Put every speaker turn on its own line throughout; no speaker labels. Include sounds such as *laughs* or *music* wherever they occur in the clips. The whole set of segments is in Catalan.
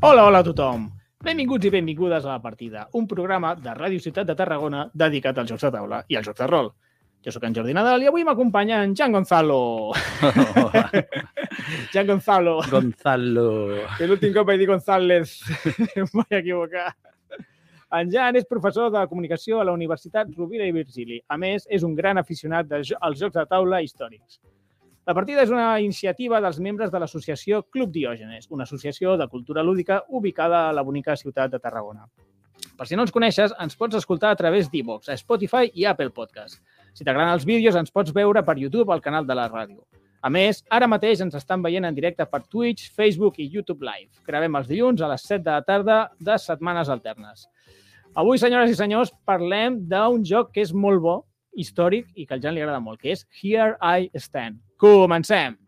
Hola a tothom. Benvinguts i benvingudes a La Partida, un programa de Ràdio Ciutat de Tarragona dedicat als jocs de taula i als jocs de rol. Jo sóc en Jordi Nadal i avui m'acompanya en Jan Gonzalo. *laughs* Jan Gonzalo. *laughs*
Gonzalo.
Que l'últim cop vaig dir González. *laughs* em vaig equivocar. En Jan és professor de comunicació a la Universitat Rovira i Virgili. A més, és un gran aficionat de jo- als jocs de taula històrics. La partida és una iniciativa dels membres de l'associació Club Diògenes, una associació de cultura lúdica ubicada a la bonica ciutat de Tarragona. Per si no ens coneixes, ens pots escoltar a través d'Evox, a Spotify i Apple Podcast. Si t'agraden els vídeos, ens pots veure per YouTube al canal de la ràdio. A més, ara mateix ens estan veient en directe per Twitch, Facebook i YouTube Live. Gravem els dilluns a les 7 de la tarda de setmanes alternes. Avui, senyores i senyors, parlem d'un joc que és molt bo, històric i que al Jan li agrada molt, que és Here I Stand. Comencem!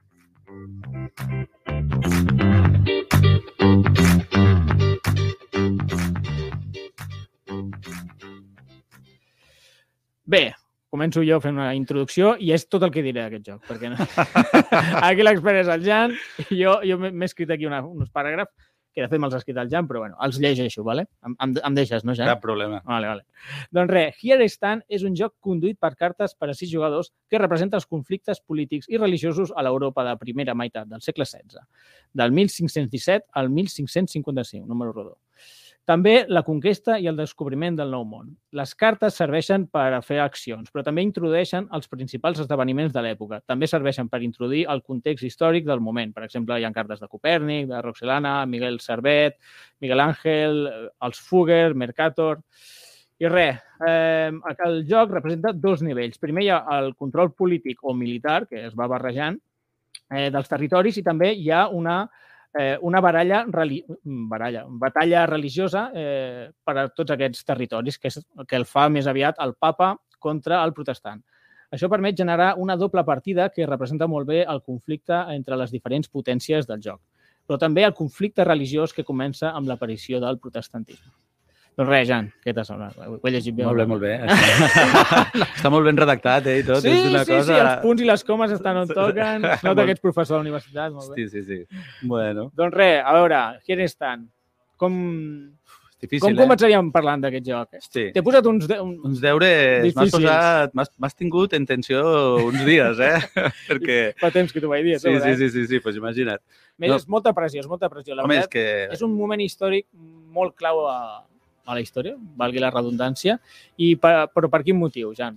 Bé, començo jo fent una introducció i és tot el que diré d'aquest joc, perquè no... aquí l'expert és el Jan i jo, jo m'he m'he escrit aquí una, uns paràgrafs que de fet me'ls ha escrit el Jan, però bueno, els llegeixo, vale? Em, em, em deixes, no, Jan?
Cap problema.
Vale, vale. Doncs res, Here Stand és un joc conduït per cartes per a sis jugadors que representa els conflictes polítics i religiosos a l'Europa de primera meitat del segle XVI, del 1517 al 1555, número rodó. També la conquesta i el descobriment del nou món. Les cartes serveixen per a fer accions, però també introdueixen els principals esdeveniments de l'època. També serveixen per introduir el context històric del moment. Per exemple, hi ha cartes de Copèrnic, de Roxelana, Miguel Servet, Miguel Ángel, eh, els Fugger, Mercator... I res, eh, el joc representa dos nivells. Primer hi ha el control polític o militar, que es va barrejant, eh, dels territoris i també hi ha una, eh, una baralla, reli mm, baralla, batalla religiosa eh, per a tots aquests territoris, que, és, el que el fa més aviat el papa contra el protestant. Això permet generar una doble partida que representa molt bé el conflicte entre les diferents potències del joc, però també el conflicte religiós que comença amb l'aparició del protestantisme. Doncs res, Jan, què t'ha semblat? Ho he llegit bé.
Molt bé, molt bé.
*laughs*
Està, està molt ben redactat, eh, i tot.
Sí,
és una
sí,
cosa...
sí, els punts i les comes estan
*laughs*
on toquen. Es Nota
Molt-
que ets professor de la universitat, molt bé.
Sí, sí, sí. Bueno,
Doncs res, a veure, here estan. Com,
és
com
difícil, eh?
començaríem parlant d'aquest joc?
Sí.
T'he posat uns... De, un...
Uns deures m'has
Difícils.
posat... m'has- M'has tingut en tensió uns dies, eh? *laughs* Perquè...
Fa temps que t'ho vaig dir.
Sí, sí, sí, sí, sí, pues imagina't.
Més,
No.
És molta pressió, és molta pressió. La
Home, és
veritat,
que...
és, un moment històric molt clau a, a la història, valgui la redundància, i per, però per quin motiu, Jan?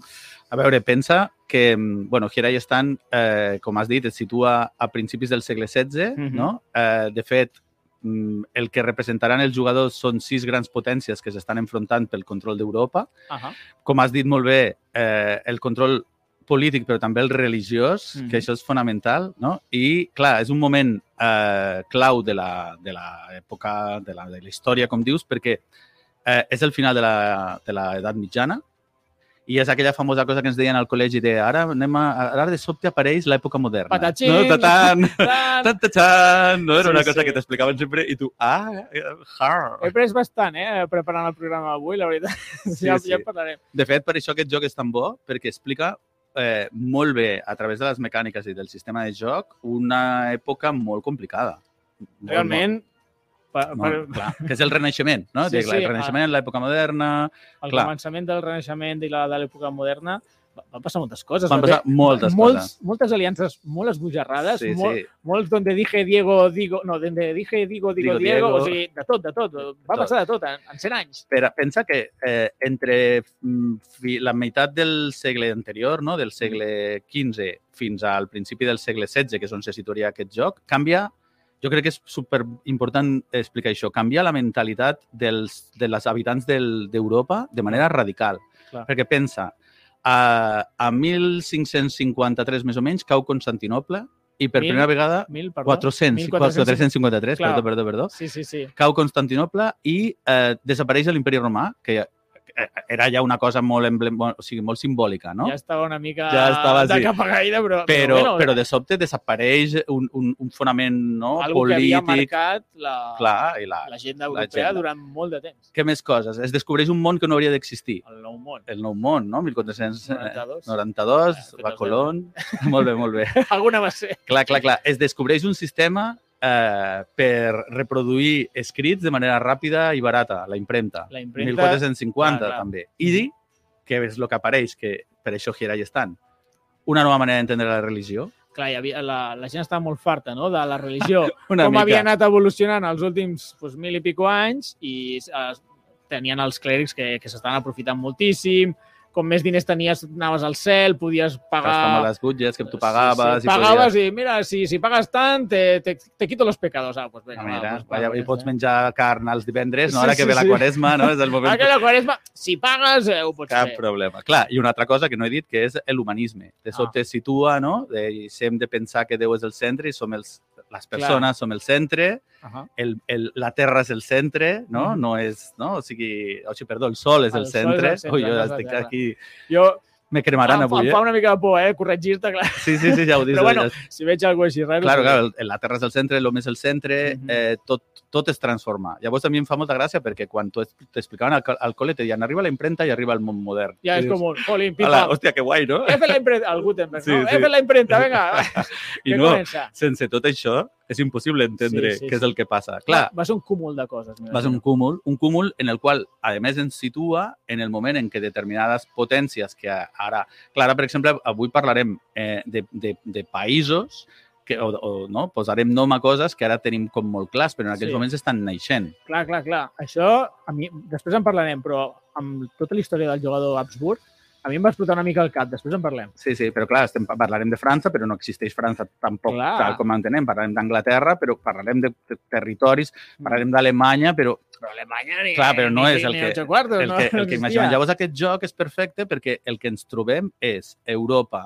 A veure, pensa que, mm, bueno, Here I Stand, eh, com has dit, es situa a principis del segle XVI,
Mhm.
no? Eh, de fet, mm, el que representaran els jugadors són sis grans potències que s'estan enfrontant pel control d'Europa.
Ahà.
Com has dit molt bé, eh, el control polític, però també el religiós,
Mhm.
que això és fonamental, no? I, clar, és un moment eh, clau de la- de l'època, de, la, de la història, com dius, perquè eh, és el final de la- de l'edat mitjana, i és aquella famosa cosa que ens deien al col·legi de ara, anem a, ara de sobte apareix l'època moderna.
Patatxin!
No,
*laughs*
tatan,
Tant!
tatan, no?
Sí,
Era una cosa
sí.
que t'explicaven sempre i tu, ah, eh, har.
He pres bastant, eh, preparant el programa d'avui, la veritat. *laughs*
Sí,
ja,
sí.
ja en parlarem.
De fet, per això aquest joc és tan bo, perquè explica eh, molt bé, a través de les mecàniques i del sistema de joc, una època molt complicada. Molt,
Realment, per,
Molt,
per,
molt, clar, que és el Renaixement, no?
Sí,
Sí, sí,
sí, ah.
el Renaixement, l'època moderna...
al
Clar.
començament del Renaixement i la, de l'època moderna va- van passar moltes coses.
Van
va haver
passar moltes
molts,
coses.
Moltes aliances molt esbojarrades, sí,
Sí,
molt,
sí.
molts donde dije Diego, digo, no, donde dije Diego, digo,
Digo,
Diego,
Diego.
o sigui, de tot, de tot. Va
tot.
passar de tot en, en 100 anys.
Espera, pensa que eh, entre mm, fi, la meitat del segle anterior, no? del segle XV fins al principi del segle XVI, que és on se situaria aquest joc, canvia, jo crec que és super important explicar això, canvia la mentalitat dels, de les habitants del- d'Europa de manera radical.
Clar.
Perquè pensa, a, a 1553 més o menys cau Constantinople i per
Mil-
primera vegada...
Mil, perdó.
400, 453,
Clar.
perdó, perdó, perdó
Sí, sí, sí.
cau Constantinople i eh, desapareix l'imperi romà, que eh, era ja una cosa molt, emblem... o sigui, molt simbòlica, no?
Ja estava una mica
Ja estava,
de
sí.
capa caïda, però...
però,
bueno,
però de sobte desapareix un, un, un fonament no?
algo que havia
polític,
marcat la-
clar, i la...
l'agenda europea
l'agenda.
durant molt de temps.
Què més coses? Es descobreix un món que no hauria d'existir,
El nou món.
el nou món, no? 1492,
92.
eh,
Ah,
va Colón... Molt bé, molt bé.
*laughs* Alguna va ser.
Clar, clar, clar. Es descobreix un sistema eh, per reproduir escrits de manera ràpida i barata, la impremta.
La impremta,
1450,
clar, clar.
també. I dir que és el que apareix, que per això Hierai estan. Una nova manera d'entendre la religió.
Clar, hi havia, la, la gent estava molt farta no? de la religió,
Una
com
mica.
havia anat evolucionant els últims doncs, mil i pico anys i eh, tenien els clèrics que, que s'estaven aprofitant moltíssim, com més diners tenies, anaves al cel, podies
Les
pagar...
famoses butges que tu pagaves.
sí, sí, pagaves i, mira, si, si pagues tant, te, te, te quito los pecados. Ah, pues
I,
venga,
Ah, mira,
va, pues,
vaja,
pagues,
i pots
eh?
menjar carn els divendres, no?
Sí,
ara que
sí,
ve la
sí.
quaresma, no? és el moment
Ara que la quaresma, si pagues, eh, ho pots
Cap
fer.
problema. Clar, i una altra cosa que no he dit, que és l'humanisme.
Ah.
De sobte es situa, no? De, i si hem de pensar que Déu és el centre i som els, les persones som el centre,
Uh -huh.
el, el, la terra és el centre, no?
Mhm.
No és, no? O sigui, o sigui, perdó, el sol és
Ah, El
el,
sol és el
centre.
centre,
Ui, jo
no és la
estic
terra.
aquí...
Jo
Me cremaran
em, fa-
avui,
em
eh?
fa una mica de por, eh, corregir-te, clar.
Sí, sí,
*laughs*
sí, ja ho dius.
Però bueno,
ja-
Si veig alguna cosa així raro...
Claro,
sí.
claro, la terra és el centre, l'home és el centre,
Mhm.
eh, tot, tot es transforma. Llavors també em fa molta gràcia perquè quan t'ho es- t'explicaven al, co- al col·le te deien arriba la impremta i arriba el món modern.
Ja
I
és
dius,
com un... Jolín,
Hola,
pipa,
hòstia, que
*laughs*
guai, no?
He fet la impremta, el
*laughs*
Gutenberg,
Sí,
no?
sí.
He fet la impremta,
*laughs*
vinga,
I
que
no,
comença.
sense tot això és impossible entendre
Sí, sí,
què és
sí.
el que passa. Clar,
Va ser un cúmul de coses.
va ser un cúmul, un cúmul en el qual, a més, ens situa en el moment en què determinades potències que ara... Clar, ara, per exemple, avui parlarem eh, de, de, de països que, o, o no, posarem nom a coses que ara tenim com molt clars, però en aquells
Sí.
sí. moments estan naixent.
Clar, clar, clar. Això, a mi, després en parlarem, però amb tota la història del jugador Habsburg, a mi em va explotar una mica el cap, després en parlem.
Sí, sí, però clar, estem, parlarem de França, però no existeix França tampoc
Clar.
tal com entenem. Parlarem d'Anglaterra, però parlarem de, de territoris, parlarem d'Alemanya, però
Però Alemanya ni...
Mm. Clar, però no
ni-
és el
ni
que-
ocho Quartos,
el
no?
que,
No
el que
existia.
imaginem. Llavors aquest joc és perfecte perquè el que ens trobem és Europa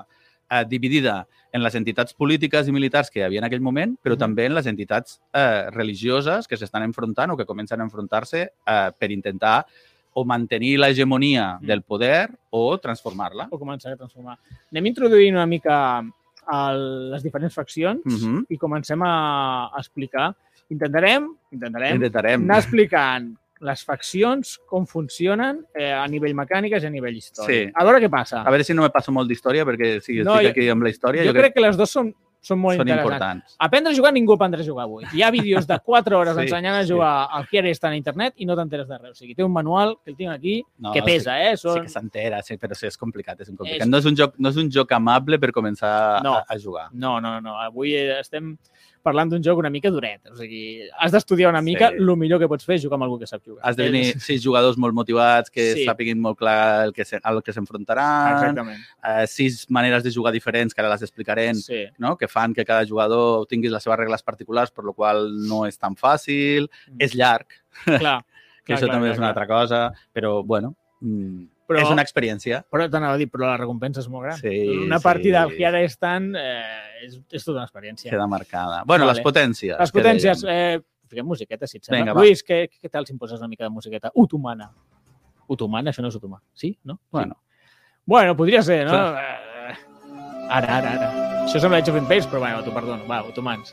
eh, dividida en les entitats polítiques i militars que hi havia en aquell moment, però
Mhm.
també en les entitats eh, religioses que s'estan enfrontant o que comencen a enfrontar-se eh, per intentar o mantenir l'hegemonia
Mhm.
del poder o transformar-la.
O començar a transformar. Anem introduint una mica el, les diferents faccions
Mhm.
i comencem a, a explicar. Intentarem, intentarem
Intentarem.
anar explicant les faccions, com funcionen eh, a nivell mecàniques i a nivell històric.
Sí.
A veure què passa.
A veure si no me passo molt d'història, perquè si
No,
estic
jo-
aquí amb la història,
jo crec que les dues són, són molt
són
interessants.
importants.
Aprendre a jugar ningú aprendrà a jugar avui. Hi ha vídeos de
*laughs*
4 hores
Sí,
sí, ensenyant a
sí.
jugar al Kier està a internet i no t'enteres de res. O sigui, té un manual que el tinc aquí,
No,
no, que pesa, eh?
Ah, Sí, sí
Són...
que s'entera, sí, però sí, és complicat, és un complicat.
És-
No, és un joc, no és un joc amable per començar
No.
a, a jugar.
No, no, no. Avui eh, estem parlant d'un joc una mica duret. O sigui, has d'estudiar una
Sí.
mica. El millor que pots fer és jugar amb algú que sap jugar. Eh,
Has de tenir
És-
sis jugadors molt motivats
Sí.
que sí. sàpiguin molt clar el que se, al que s'enfrontaran,
Exactament.
eh, sis maneres de jugar diferents, que ara les explicarem,
Sí.
no? que fan que cada jugador tingui les seves regles particulars, per lo qual no és tan fàcil,
Mm.
és llarg, *laughs* que
Clar, clar,
això
clar,
també
clar,
és una
clar.
altra cosa, però bueno, mm,
Però-
però... és una experiència.
Però t'anava a dir, però la recompensa és molt gran.
Sí,
una
sí.
partida al Kiara Stan eh, és, és tota una experiència.
Queda marcada. Bueno,
Vale.
les potències.
Les
que
potències...
dèiem.
Eh, fiquem musiqueta, si et sembla. Vinga,
Vinga, va.
Lluís, què, què tal si em poses una mica de musiqueta otomana? Otomana, això no és otomà. Sí? No?
Bueno.
Sí. Bueno, podria ser, no?
Clar.
Eh, Ara, ara, ara. Això sembla Age of Empires, però bueno, t'ho perdono. Va, otomans.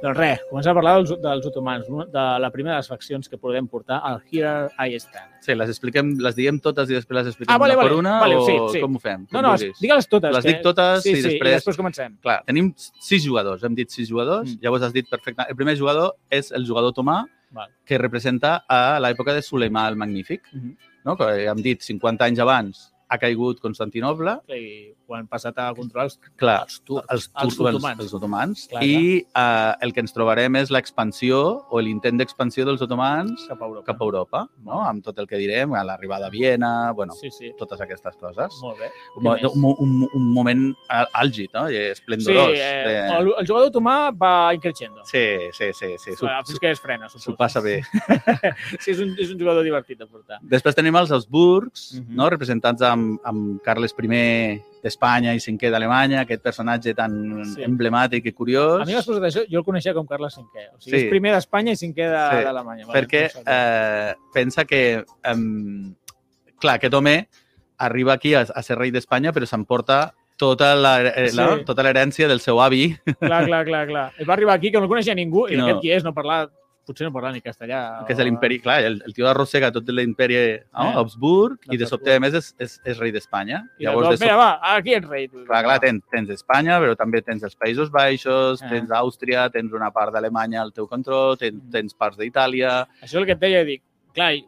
Doncs res, comencem a parlar dels, dels otomans, no? de la primera de les faccions que podem portar al Here I Stand.
Sí, les expliquem, les diem totes i després les expliquem
Ah, vale,
una per
vale,
una
vale,
o
sí, sí.
com ho fem?
No,
Com
no,
vulguis.
digue-les totes.
Les dic totes
sí,
i
sí,
després-
i després comencem.
Clar, tenim sis jugadors, hem dit sis jugadors,
Mm.
mm. llavors has dit perfecte. El primer jugador és el jugador otomà,
Val.
que representa a l'època de Suleimà el Magnífic,
Mhm.
no? que hem dit 50 anys abans ha caigut Constantinoble,
I ho han passat a controlar els,
clar,
els turcs.
els,
Els
turcs,
otomans.
els otomans
Clar,
i eh, el que ens trobarem és l'expansió o l'intent d'expansió dels otomans
cap a Europa.
cap a Europa, no? amb tot el que direm, a l'arribada a Viena, bueno,
Sí, sí.
totes aquestes coses.
Molt bé.
Un, mo-
més?
un, mo- un, mo- un moment à- àlgid, no? I
Sí,
esplendorós.
eh,
de-
el, el jugador otomà va increixendo. Sí,
sí, sí, sí, sí. S'ho
fins que es frena,
s'ho
suposo.
passa bé.
*laughs* Sí, és un, és un jugador divertit de portar.
Després tenim els Habsburgs,
Mhm.
no? representats amb, amb Carles I d'Espanya i cinquè d'Alemanya, aquest personatge tan
Sí.
sí. emblemàtic i curiós,
A mi m'has posat això, jo el coneixia com Carles V. O sigui,
Sí.
és primer d'Espanya i cinquè de- doncs
Sí,
d'Alemanya. Sí,
perquè eh, pensa que, um, clar, aquest home arriba aquí a, a ser rei d'Espanya, però s'emporta tota la- eh, la-
Sí.
tota l'herència del seu avi,
Clar, clar, clar, clar. Es va arribar aquí que no el coneixia ningú i
No.
no. aquest qui és, no parlava potser no parlar ni castellà.
que és de l'imperi, clar, el, el tio arrossega tot l'imperi no?
Eh.
a Habsburg i de
Habsburg.
sobte, a més, és, és, és rei d'Espanya.
I llavors,
de
doncs, mira,
sobte,
va, aquí ets rei. tu.
clar, clar, tens, tens Espanya, però també tens els Països Baixos,
Eh.
tens Àustria, tens una part d'Alemanya al teu control, tens,
Mm.
tens parts d'Itàlia...
Això és el que et deia, dic, clar, hi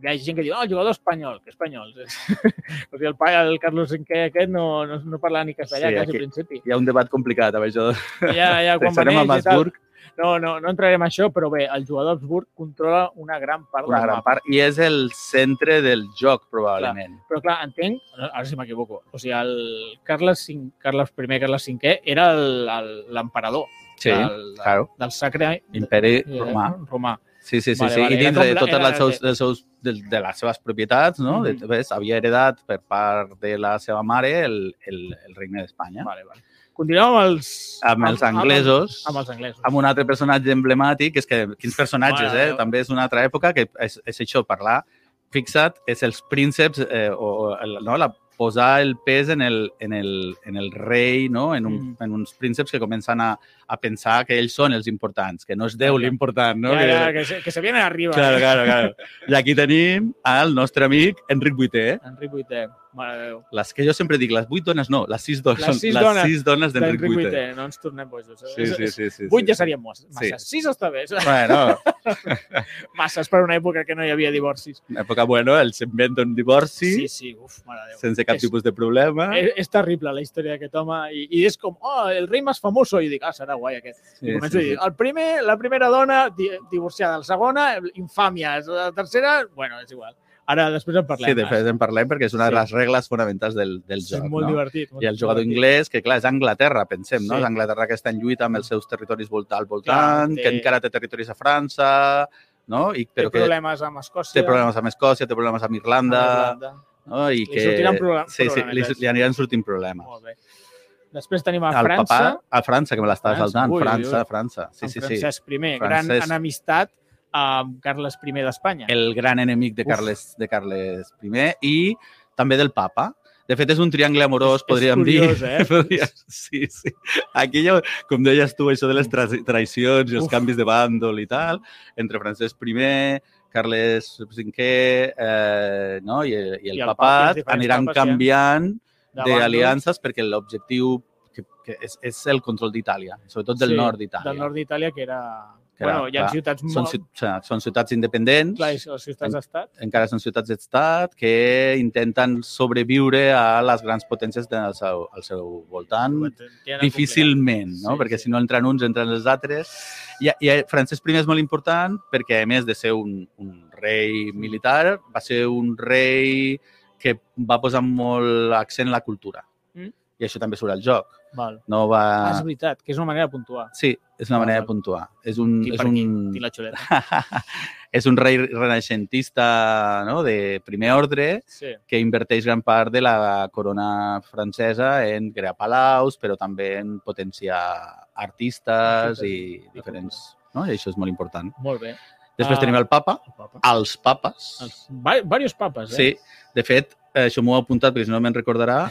hi ha gent que diu, oh, el jugador espanyol, que espanyol. *laughs* o sigui, el, pa, el Carlos V aquest no, no, no parlava ni castellà, sí,
Sí,
quasi
aquí-
al principi.
Hi ha un debat complicat amb això.
Ja, ja, quan va
Pensarem a
néixer i tal.
Habsburg,
No, no, no entrarem a això, però bé, el jugador Habsburg controla una gran part
una
del
gran
mapa.
part, i és el centre del joc, probablement.
Però clar, entenc, ara si m'equivoco, o sigui, el Carles, V, Carles I, Carles V era el- el- l'emperador
Sí,
del,
claro.
del Sacre
Imperi
eh,
romà.
romà.
Sí, sí, sí.
Vale,
sí.
vale,
I
era
dintre
com
de
la-
totes
era-
les seus, les seus, de, de les seves propietats, no? Mm
Mhm.
-hmm. Ves, havia heredat per part de la seva mare el, el, el regne d'Espanya.
Vale, vale. Continuem amb els...
Amb els anglesos,
Amb, amb els anglesos.
amb un altre personatge emblemàtic, és que quins personatges,
Mare
eh?
meva.
També és una altra època que és, és això, parlar fixat, és els prínceps, eh, o, o el, no? la, posar el pes en el, en el, en el rei, no? en, un,
Mhm.
en uns prínceps que comencen a, a pensar que ells són els importants, que no és Déu
Clar.
l'important. No?
Ja,
Que-
ja, que, se, que se viene arriba.
eh. Claro, claro, claro. I aquí tenim al nostre amic Enric Vuitè.
eh. Enric Vuitè, mare de Déu.
Les que jo sempre dic, les vuit dones no, les sis dones.
Les
són
sis
les
dones
sis dones d'Enric
Enric
Vuitè.
Vuitè, no ens tornem bojos. Eh?
Sí, sí, sí. sí,
Vuit
sí.
ja serien massa.
Sí.
Sis està bé.
Bueno,
Masses per una època que no hi havia divorcis.
en època bueno, ell s'inventa un divorci
sí, sí uf, mare de Déu.
sense cap
És- Eh,
tipus de problema.
És, és terrible la història d'aquest home i, i és com, oh, el rei més famoso i dic, ah, serà guai aquest.
Sí,
I començo
sí,
a dir, "Oh,
sí.
el primer, la primera dona di, divorciada, la segona, infàmia, la tercera, bueno, és igual. Ara després en parlem. eh."
Sí, de fet en parlem perquè és una de
Sí.
les regles fonamentals del, del
és
joc.
molt
no?
divertit. Molt
I el jugador
divertit.
anglès, que clar, és Anglaterra, pensem, no?
Sí.
És Anglaterra que està en lluita amb els seus territoris volta al
Clar,
voltant,
té-
que encara té territoris a França, no? I,
té
però que
problemes amb Escòcia.
té problemes amb Escòcia, té problemes amb
eh. amb
Irlanda,
Irlanda.
no? I
Li
que...
sortiran proble-
sí, sí, li,
problemes.
li aniran sortint problemes.
Molt bé. Després tenim a
Al
França,
papà, a França, que me l'estava
França,
saltant.
ui, ui,
França,
ui.
França. Sí,
amb
sí, sí.
Francesc I, gran
Francesc.
enemistat amb Carles I d'Espanya.
El gran enemic de
Uf.
Carles, de Carles I i també del papa. De fet, és un triangle amorós, podríem
és
*laughs*
curiós,
dir.
Eh?
Podria- Sí, sí. Aquí, ja, com deies tu, això de les tra traicions i els
Uf.
canvis de bàndol i tal, entre Francesc I, Carles V eh, no? I, i el
I el papa, els
papat,
diferents
aniran
papes, ja.
canviant
Davant
d'aliances perquè l'objectiu que, que és, és el control d'Itàlia, sobretot del
Sí,
sí, nord
d'un- Del
d'Itàlia.
nord d'Itàlia, que era...
Que
Que
era,
bueno, hi ha
clar,
ciutats
Són,
molt...
ci- o sigui, són ciutats independents,
Clar, i les ciutats d'estat.
encara són ciutats d'estat, que intenten sobreviure a les grans potències del seu, al seu voltant,
Tenen
difícilment, no?
Sí,
perquè
sí.
si no entren uns, entren els altres. I, i eh, Francesc I és molt important perquè, a més de ser un, un rei militar, va ser un rei que va posar molt accent en la cultura.
Mm.
I això també surt al joc.
complicat. Val.
No va...
Ah, és veritat, que és una manera de puntuar.
Sí, és una
Val,
manera
val.
de puntuar. És un,
Qui
és
per aquí,
un,
qui la xuleta.
*laughs* és un rei renaixentista no? de primer ordre
Sí.
que inverteix gran part de la corona francesa en crear palaus, però també en potenciar artistes i
cultura.
diferents... No? I això és molt important.
Molt bé.
Després
Ah.
tenim el papa,
El papa.
els papes.
Els, va, varios papes, eh?
Sí, de fet, eh, això m'ho he apuntat perquè si no me'n
*laughs*
recordarà.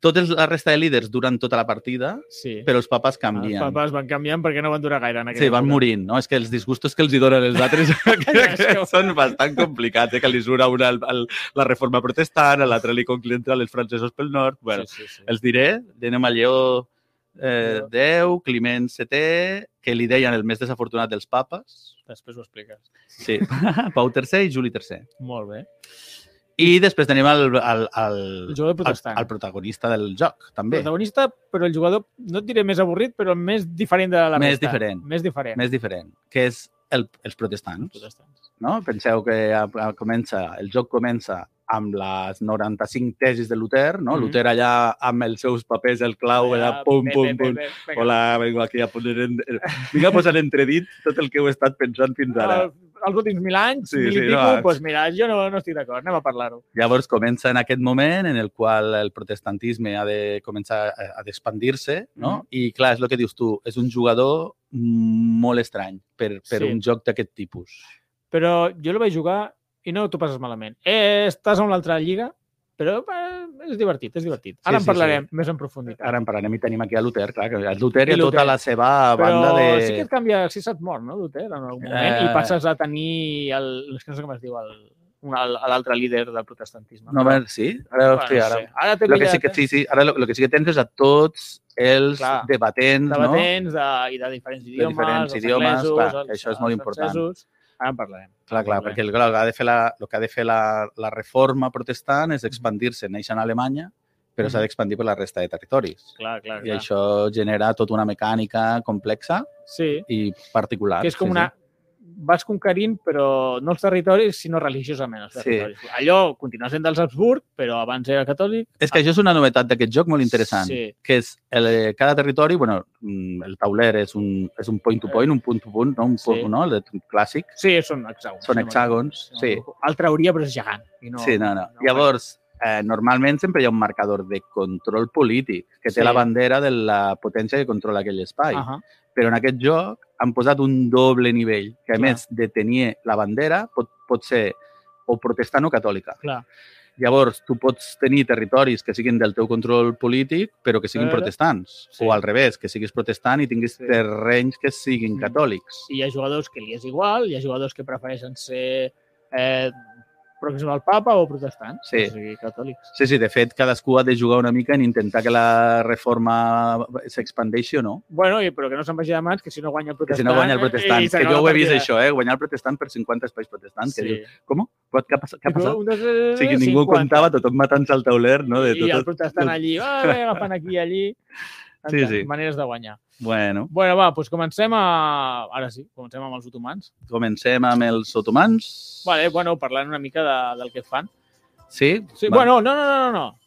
Tota la resta de líders duren tota la partida,
sí.
però els papes
Els
canvien.
papes van canviant perquè no van durar gaire en
Sí,
aquella
van
època.
morint, no? És que els disgustos que els hi donen
*laughs*
els altres *laughs* són bastant complicats, eh? que li surt a una el, el, la reforma protestant, a l'altre li contra els francesos pel nord. Bueno, sí.
sí, sí, sí.
Els diré, anem a Lleó eh,
Lleó.
10, Climent VII, que li deien el més desafortunat dels papes,
Després ho expliques. *laughs*
sí. Pau III i Juli III.
Molt bé.
I després tenim el, el, el,
El jugador
el,
protestant.
el protagonista del joc, també.
protagonista, però el jugador, no et diré més avorrit, però més diferent de la
Més
resta.
diferent.
Més diferent.
Més diferent, que és el, els protestants.
protestants.
no? Penseu que a- a- comença, el joc comença amb les 95 tesis de Luther, no?
Mhm.
Luther allà amb els seus papers, el clau, allà, pum,
Bé, bé,
pum,
bé,
pum.
bé, vinga.
Hola, vengo aquí a posar... En... eh, Vinc a posar en entredit tot el que heu estat pensant fins ara.
El- els últims mil anys,
Sí,
sí, mil
sí,
i pico,
no,
doncs pues mira, jo no, no estic d'acord, anem a parlar-ho.
Llavors comença en aquest moment en el qual el protestantisme ha de començar a, a d'expandir-se, no?
Mhm.
I clar, és el que dius tu, és un jugador molt estrany per, per
Sí.
un joc d'aquest tipus.
Però jo el vaig jugar i no t'ho passes malament. Eh, estàs a una altra lliga, però eh, és divertit, és divertit. Ara en
Sí, sí,
parlarem més en profunditat.
Ara en parlarem i tenim aquí a Luther, clar, que a Luther i
I
a tota
Luther.
la seva banda de...
sí que et canvia, si se't mor, no, Luther, en algun moment,
Eh.
i passes a tenir el, és que no sé com es diu, el, un- el- l'altre líder del protestantisme.
No, a veure, sí? Ara,
Bueno,
hòstia, ara...
no sé. ara t'he
Lo que sí
pillat,
que,
eh?
sí, sí, ara lo, lo que sí que tens és a tots els
Clar.
debatents,
debatents de, i de diferents idiomes,
diferents
els
idiomes,
anglesos,
clar,
els,
això és molt
els
important.
francesos. Ara en parlarem.
no? Clar, clar, perquè el, clar, el que ha de fer, la, el que ha de fer la, la reforma protestant és expandir-se, neixen a Alemanya, però s'ha d'expandir per la resta de territoris.
Clar, clar,
I
clar.
això genera tota una mecànica complexa
Sí,
i particular.
que és com
sí,
una...
Sí.
Vas conquerint, però no els territoris, sinó religiosament els
Sí.
territoris. Allò continua sent dels Habsburg, però abans era catòlic.
És que això és una novetat d'aquest joc molt interessant,
Sí,
que és el, cada territori, bueno, mm, el tauler és un, és un point to point, un punt to punt, no? un,
Eh. Sí.
punt, no? el clàssic,
sí són hexàgons.
són hexàgons, sí.
El trauria, però és gegant. I no,
Sí, no, no. Llavors, eh, normalment sempre hi ha un marcador de control polític que té
Sí.
la bandera de la potència que controla aquell espai.
Uh -huh.
Però en aquest joc han posat un doble nivell, que a
Clar.
més de tenir la bandera pot, pot ser o protestant o catòlica.
Clar.
Llavors, tu pots tenir territoris que siguin del teu control polític, però que siguin
Però-
protestants.
Sí.
O al revés, que siguis protestant i tinguis
Sí.
terrenys que siguin
Mm.
catòlics.
hi ha jugadors que li és igual, hi ha jugadors que prefereixen ser eh, pròxims al papa o protestants,
Sí.
o sigui, catòlics.
Sí, sí, de fet, cadascú ha de jugar una mica en intentar que la reforma s'expandeixi o no.
Bueno, i, però que no se'n vagi de mans, que si no guanya el
Que si
protestant...
no guanya el protestant.
eh, i
Que
s'acaba
jo ho
la
he vist,
partida.
això, eh? Guanyar el protestant per 50 espais protestants. Que diu, com? Pot, què ha passat? Què ha passat?
Un, dos, eh,
O sigui, ningú
50.
comptava, tothom matant-se al tauler, no? De
I el
tot...
protestant
tot-
allí, "Ah, va, va, agafant aquí i allí.
Sí,
Tantes
sí.
Maneres de guanyar.
Bueno,
Bueno, va, doncs comencem a... Ara sí, comencem amb els otomans.
comencem amb els otomans.
Vale, bueno, parlant una mica de, del que fan.
Sí?
Sí,
Va-
bueno, no, no, no, no, no.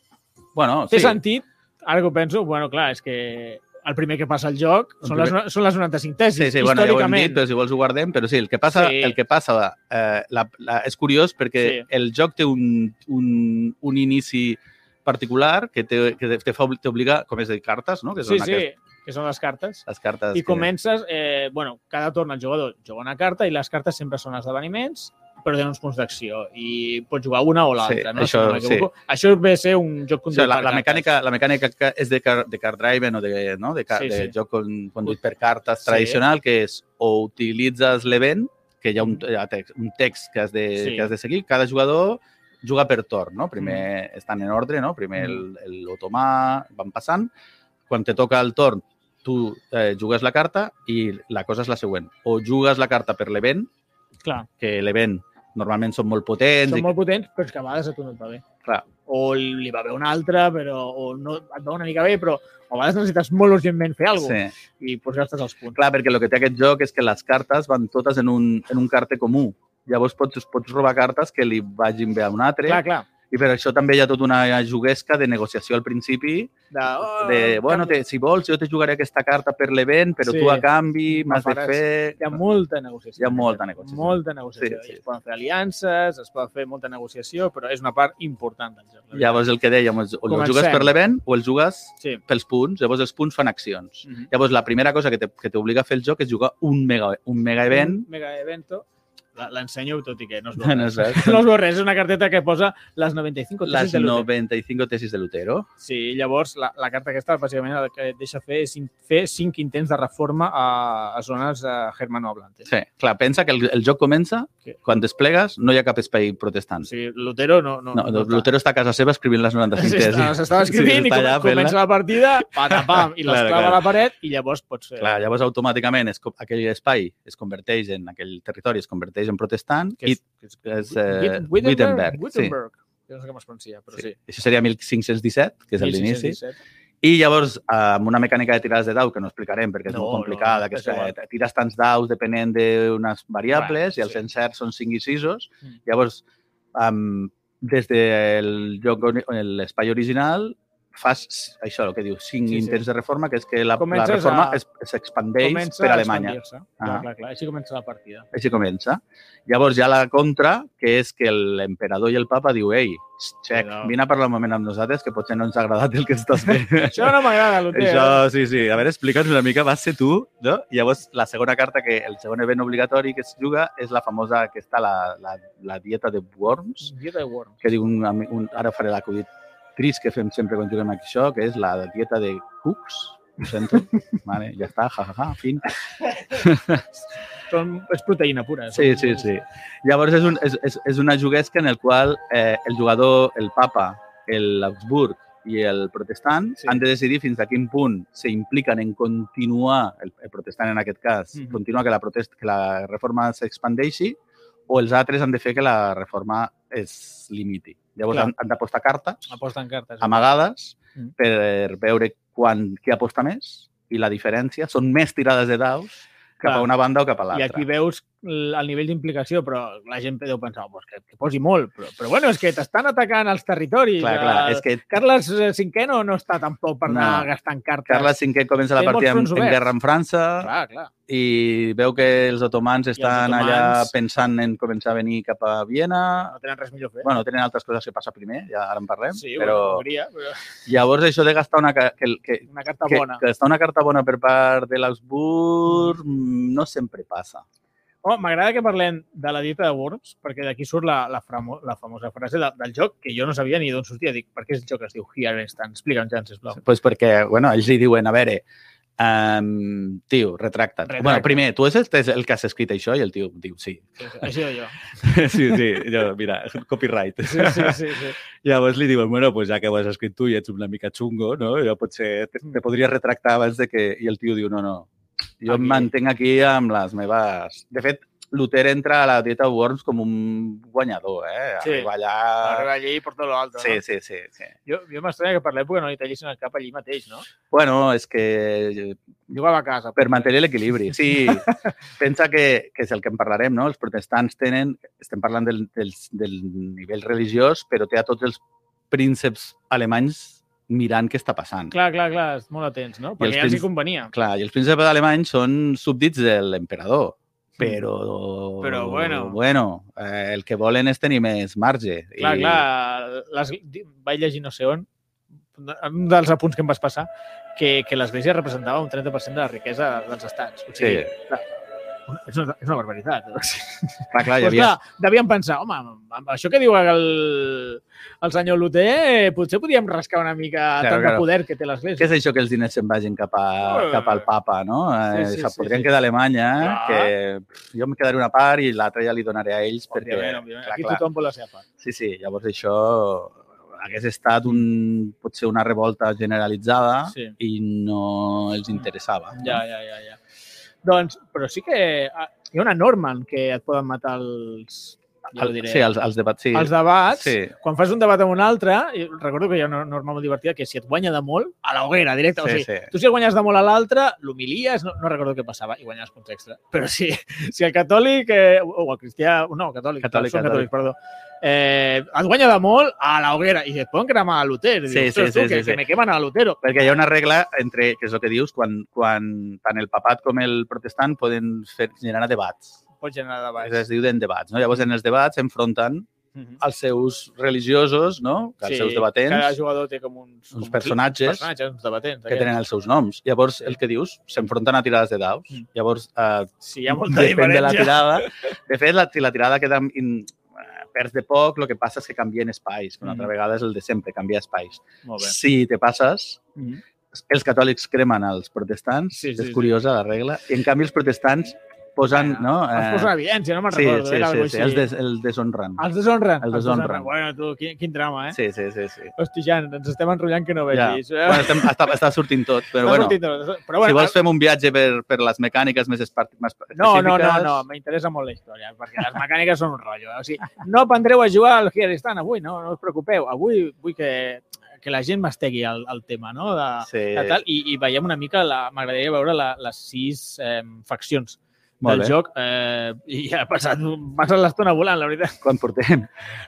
bueno
Té
sí.
sentit, ara que ho penso, bueno, clar, és que el primer que passa al joc
El
són, les, no- són les 95 tesis,
Sí, sí, bueno, ja ho hem dit,
històricament.
però si vols ho guardem, però sí, el que passa,
Sí.
el que passa eh, la, la, és curiós perquè
Sí.
el joc té un, un, un inici particular que te- que te fa- t'obliga, com és de cartes, no? Que són
sí, sí,
aquestes,
que són les cartes.
les cartes.
I
que-
comences, eh, bueno, cada torn el jugador juga una carta i les cartes sempre són esdeveniments, però tenen uns punts d'acció i pots jugar una o l'altra.
Sí,
no?
això,
no m'equivoco. això ve a ser un joc
O
conduït
sigui, la,
per
la,
cartes.
mecànica, la mecànica que és de, car, de card driven o de, no? de, car,
Sí,
sí, sí.
sí.
de joc con, conduït per cartes
Sí.
tradicional, que és o utilitzes l'event, que hi ha un, hi ha text, un text que has, de,
Sí.
sí. que has de seguir, cada jugador juga per torn, no? Primer estan en ordre, no? Primer el- el- l'otomà, van passant. Quan te toca el torn, tu eh, jugues la carta i la cosa és la següent. O jugues la carta per l'event,
Clar,
que l'event normalment són molt potents
són
i
molt potents, però és que a vegades a tu no et va bé.
Clar.
O li va bé una altra, però o no et va una mica bé, però a vegades necessites molt urgentment fer alguna cosa
Sí.
i pots gastes els punts.
Clar, perquè el que té aquest joc és que les cartes van totes en un, en un carte comú. Llavors pots, pots robar cartes que li vagin bé a un altre.
Clar, clar.
I per això també hi ha tota una juguesca de negociació al principi.
De, oh,
De, bueno,
canvi.
te, si vols, jo te jugaré aquesta carta per l'event, però
Sí.
tu a canvi
Me
m'has de
faràs-
fer...
Hi ha molta negociació.
Hi ha molta negociació.
Molta negociació.
Sí,
Sí,
sí.
sí. Es poden fer aliances, es poden fer molta negociació, però és una part important del joc. la veritat.
Llavors el que dèiem, és o el
Comencem.
jugues per l'event o el jugues
Sí.
pels punts. Llavors els punts fan accions.
Mhm.
Llavors la primera cosa que te- que t'obliga a fer el joc és jugar un mega, un mega event.
Un mega evento. La- L'ensenyo tot i que no es veu
*laughs* No
res.
saps?
*laughs* No es veu res, és una carteta que posa les 95 tesis
Les
de l'hotel.
95 tesis de Lutero.
Sí, llavors la, la carta aquesta bàsicament el que et deixa fer és in- fer cinc intents de reforma a, a zones eh, Germano Hablantes.
Sí, clar, pensa que el, el joc comença,
Què?
quan desplegues no hi ha cap espai protestant.
O sigui, Lutero no... no,
No, Lutero està a casa seva escrivint les 95 tesis.
s'estava s'estava
Sí,
escrivint i
està
com,
allà fent-la.
comença la partida, patapam,
*laughs*
i les
Claro,
clava a
claro.
la paret i llavors pots fer...
Clar, llavors automàticament es, co- aquell espai es converteix en aquell territori, es converteix en protestant
que
i
és, que és,
és, eh,
Wit-
Wittenberg, sí.
Wittenberg. Sí. No sé com es pronuncia, però sí.
això seria 1517, que és l'inici.
1617.
I llavors, amb una mecànica de tirades de dau, que no explicarem perquè és
No,
molt
no,
complicada, que
és
és, eh,
igual.
tires tants daus depenent d'unes variables
Clar,
i els
sí.
encerts són 5 i 6.
Mm.
Llavors, um, des del lloc, on- on l'espai original, fas això, el que diu, 5
Sí,
sí,
sí.
intents de reforma, que és que la, la
Comences
reforma
a-
es- s'expandeix
Comença a
per a Alemanya.
expandir-se. Clar,
Ah.
clar, clar. Així comença la partida.
Així comença. Llavors hi ha la contra, que és que l'emperador i el papa diu, ei, xec,
Cuidao.
vine a parlar un moment amb nosaltres, que potser no ens ha agradat el que estàs fent.
Això no m'agrada, Lutero.
Això, sí, sí. A veure, explica'ns una mica, vas ser tu, no? I llavors, la segona carta, que el segon event obligatori que es juga és la famosa, que està la, la, la dieta de worms,
Dieta de Worms.
que diu un, ami- un ara faré l'acudit tris que fem sempre quan juguem a això, que és la dieta de Cooks. Ho sento. Vale, ja està, jajaja, ja, ja, fin.
Són, és proteïna pura.
Sí, sí, sí. Llavors, és, un, és, és, és una juguesca en el qual eh, el jugador, el papa, l'Augsburg i el protestant
Sí.
sí. han de decidir fins a quin punt s'impliquen en continuar, el, el protestant en aquest cas, mm
Mhm.
-hmm. continuar que la, protest, que la reforma s'expandeixi o els altres han de fer que la reforma es limiti. Llavors
Clar. Ah,
han, han d'apostar cartes
Aposten cartes.
amagades
Mhm.
per veure quan, qui aposta més i la diferència. Són més tirades de daus cap
Clar.
a una banda o cap a
I
l'altra.
aquí veus l- el nivell d'implicació, però la gent deu pensar, oh, pues que, que posi molt, però, però bueno, és que t'estan atacant els territoris.
Clar, clar, és que
Carles eh, V no, no està tampoc per
No.
anar gastant cartes.
Carles V comença la
Té molts
partida en,
fronts
en
oberts.
guerra amb França,
Clar, clar.
i veu que els otomans estan
otomans-
allà pensant en començar a venir cap a Viena.
No tenen res millor a fer.
Bueno, tenen altres coses que passa primer, ja ara en parlem,
sí,
però
bueno, hauria, però
llavors això de gastar una ca- que, que,
una carta
que,
bona.
que està una carta bona per part de l'Augsburg mm, no sempre passa.
Oh, M'agrada que parlem de la dieta de Worms, perquè d'aquí surt la, la, framo, la famosa frase de, del joc, que jo no sabia ni d'on sortia. Dic, per què el joc es diu Here Stand? Explica'm, Jan, sisplau.
Doncs pues perquè, bueno, ells hi diuen, a veure, um, tio, retracta't.
Retracta't.
Bueno, primer, tu és el, és el que has escrit això? I el tio diu, sí. *laughs*
Així de jo.
sí, sí, jo, mira, copyright.
Sí, sí, sí.
*laughs*
sí.
Llavors li diuen, bueno, pues ja que ho has escrit tu i ets una mica xungo, no? Jo potser te,
Mm.
te podries retractar abans de que... I el tio diu, no, no,
Aquí.
jo em mantenc aquí amb les meves... De fet, Luther entra a la dieta Worms com un guanyador, eh?
Sí.
Arriba allà...
Arriba allí i porta lo alto,
Sí,
no?
sí, sí, sí.
Jo, jo m'estranya que per l'època no li tallessin el cap allí mateix, no?
Bueno, és que
Jugava a casa.
per mantenir l'equilibri.
*laughs*
Sí, pensa que, que és el que en parlarem, no? Els protestants tenen, estem parlant del, del, del nivell religiós, però té a tots els prínceps alemanys mirant què està passant.
Clar, clar, clar, és molt atents, no? Perquè
els
ja els hi
prins-
convenia.
Clar, i els prínceps alemanys són súbdits de l'emperador, però...
Mm. Però bueno.
Bueno, eh, el que volen és tenir més marge.
Clar,
I-
clar, les, di- vaig llegir no sé on, un dels apunts que em vas passar, que, que l'Església representava un 30% de la riquesa dels estats. O sigui,
Sí.
clar, és una, és una barbaritat. O sigui,
Clar, clar, Ah, hi
doncs,
havia...
clar, devien pensar, home, amb això que diu el, el senyor Luter, potser podíem rascar una mica
Claro,
tant
claro.
de poder que té
Què
l'Església.
és això que els diners se'n vagin cap, a,
Eh.
cap al papa, no? Eh,
Sí, sí,
sí, sí,
sí,
podrien
sí.
sí. quedar a Alemanya,
Clar.
que pff, jo em quedaré una part i l'altra ja li donaré a ells, perquè...
Òbviament, òbviament.
Clar,
Aquí
clar.
tothom vol la seva part.
Sí, sí, llavors això hagués estat un, potser una revolta generalitzada
Sí.
i no els interessava.
Ja, ja, ja, ja. Doncs, però sí que ah, hi ha una norma en què et poden matar els... Ja ho
El,
diré.
sí, els, els debats, sí.
els debats, sí.
Sí.
quan fas un debat amb un altre, i recordo que hi ha una norma molt divertida que si et guanya de molt, a la hoguera, directe.
Sí,
Sí, o sigui,
sí.
tu si el guanyes de molt a l'altre, l'humilies, no, no recordo què passava, i guanyaves punts extra. Però si, si el catòlic, eh, o el cristià, no, catòlic,
Catòlic,
són
catòlic.
catòlics, perdó, eh, et guanya de molt a la hoguera i et poden cremar a l'Utero.
Sí,
Dius,
sí,
"Ostres, tu,
sí,
que,
sí, sí.
que me quemen a l'Utero.
Perquè hi ha una regla entre, que és el que dius, quan, quan tant el papat com el protestant poden fer, generar debats.
Pots generar debats.
Es diu en debats. No? Llavors, en els debats s'enfronten
Mhm.
els seus religiosos, no? els seus
Cada
debatents,
jugador té com uns, com
uns personatges
personatges uns debatents.
que tenen els seus noms. Llavors, el que dius, s'enfronten a tirades de daus.
Mm.
Llavors, eh,
Si hi ha molta
depèn de la
diferència.
tirada.
*laughs*
De fet, la, si la tirada queda in, eh, perds de poc, el que passa és que canvien espais. Una altra
Mhm.
vegada és el de sempre, canviar espais.
Molt bé.
Si te passes,
Mhm.
els catòlics cremen els protestants,
Sí,
sí,
sí,
sí, és
sí.
curiosa la regla, i en canvi els protestants posen,
Bueno,
no? eh,
Es posa en evidència, no me'n
sí,
recordo.
sí,
era
sí,
algo
sí,
així.
els, des, els deshonren.
Els deshonren.
Els deshonren.
Bueno, tu, quin, quin drama, eh? Sí.
Sí, sí, sí. sí.
Hosti, Jan, ens estem enrotllant que no vegis. eh? Ja.
Bueno,
*laughs*
estem, està, està sortint tot, però bueno,
però
bueno, si
bueno, ah,
vols fem un viatge per, per les mecàniques més, espe- més específiques...
no, no, no, no, m'interessa molt la història, perquè les mecàniques són un rotllo. eh? O sigui, no aprendreu a jugar al Hearthstone avui, no, no us preocupeu. Avui vull que, que la gent mastegui el, el tema, no? De,
Sí,
de tal, i, i veiem una mica, la- m'agradaria veure la, les sis eh, faccions
molt
del
bé.
joc eh, i ja ha passat, passat l'estona volant, la veritat.
Quan portem?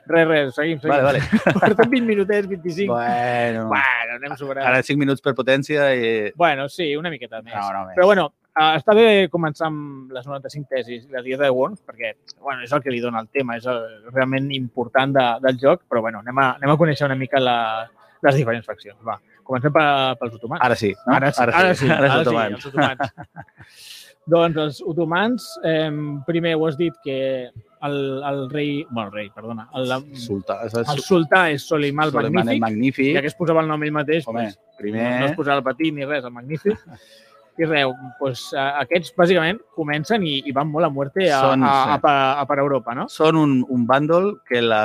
Res, res, seguim, seguim.
Vale, vale.
*laughs* Portem 20 minutets, 25.
Bueno,
Bueno, anem sobrant.
ara 5 minuts per potència i...
Bueno, sí, una miqueta més.
No, no, més.
Però bueno, eh, està bé començar amb les 95 tesis i la dieta de Worms, perquè bueno, és el que li dona el tema, és el, realment important de, del joc, però bueno, anem a, anem a conèixer una mica la, les diferents faccions. Va, comencem pe, pels otomans.
Ah, Ara sí, no?
ara, sí, ara, sí, ara, sí,
ara, sí,
ara sí,
otomans. *laughs*
els otomans. Doncs els otomans, eh, primer ho has dit que el, el rei, bueno, el rei, perdona, el,
Sultà, és
el sultà és Soliman el
Suleiman
Magnífic,
el Magnífic.
ja que es posava el nom ell mateix,
Home,
doncs,
primer...
no es posava el petit ni res, el Magnífic. I res, doncs, eh, aquests bàsicament comencen i, i van molt a muerte a,
Són,
a,
sí.
a, per- a per Europa, no?
Són un, un bàndol que la,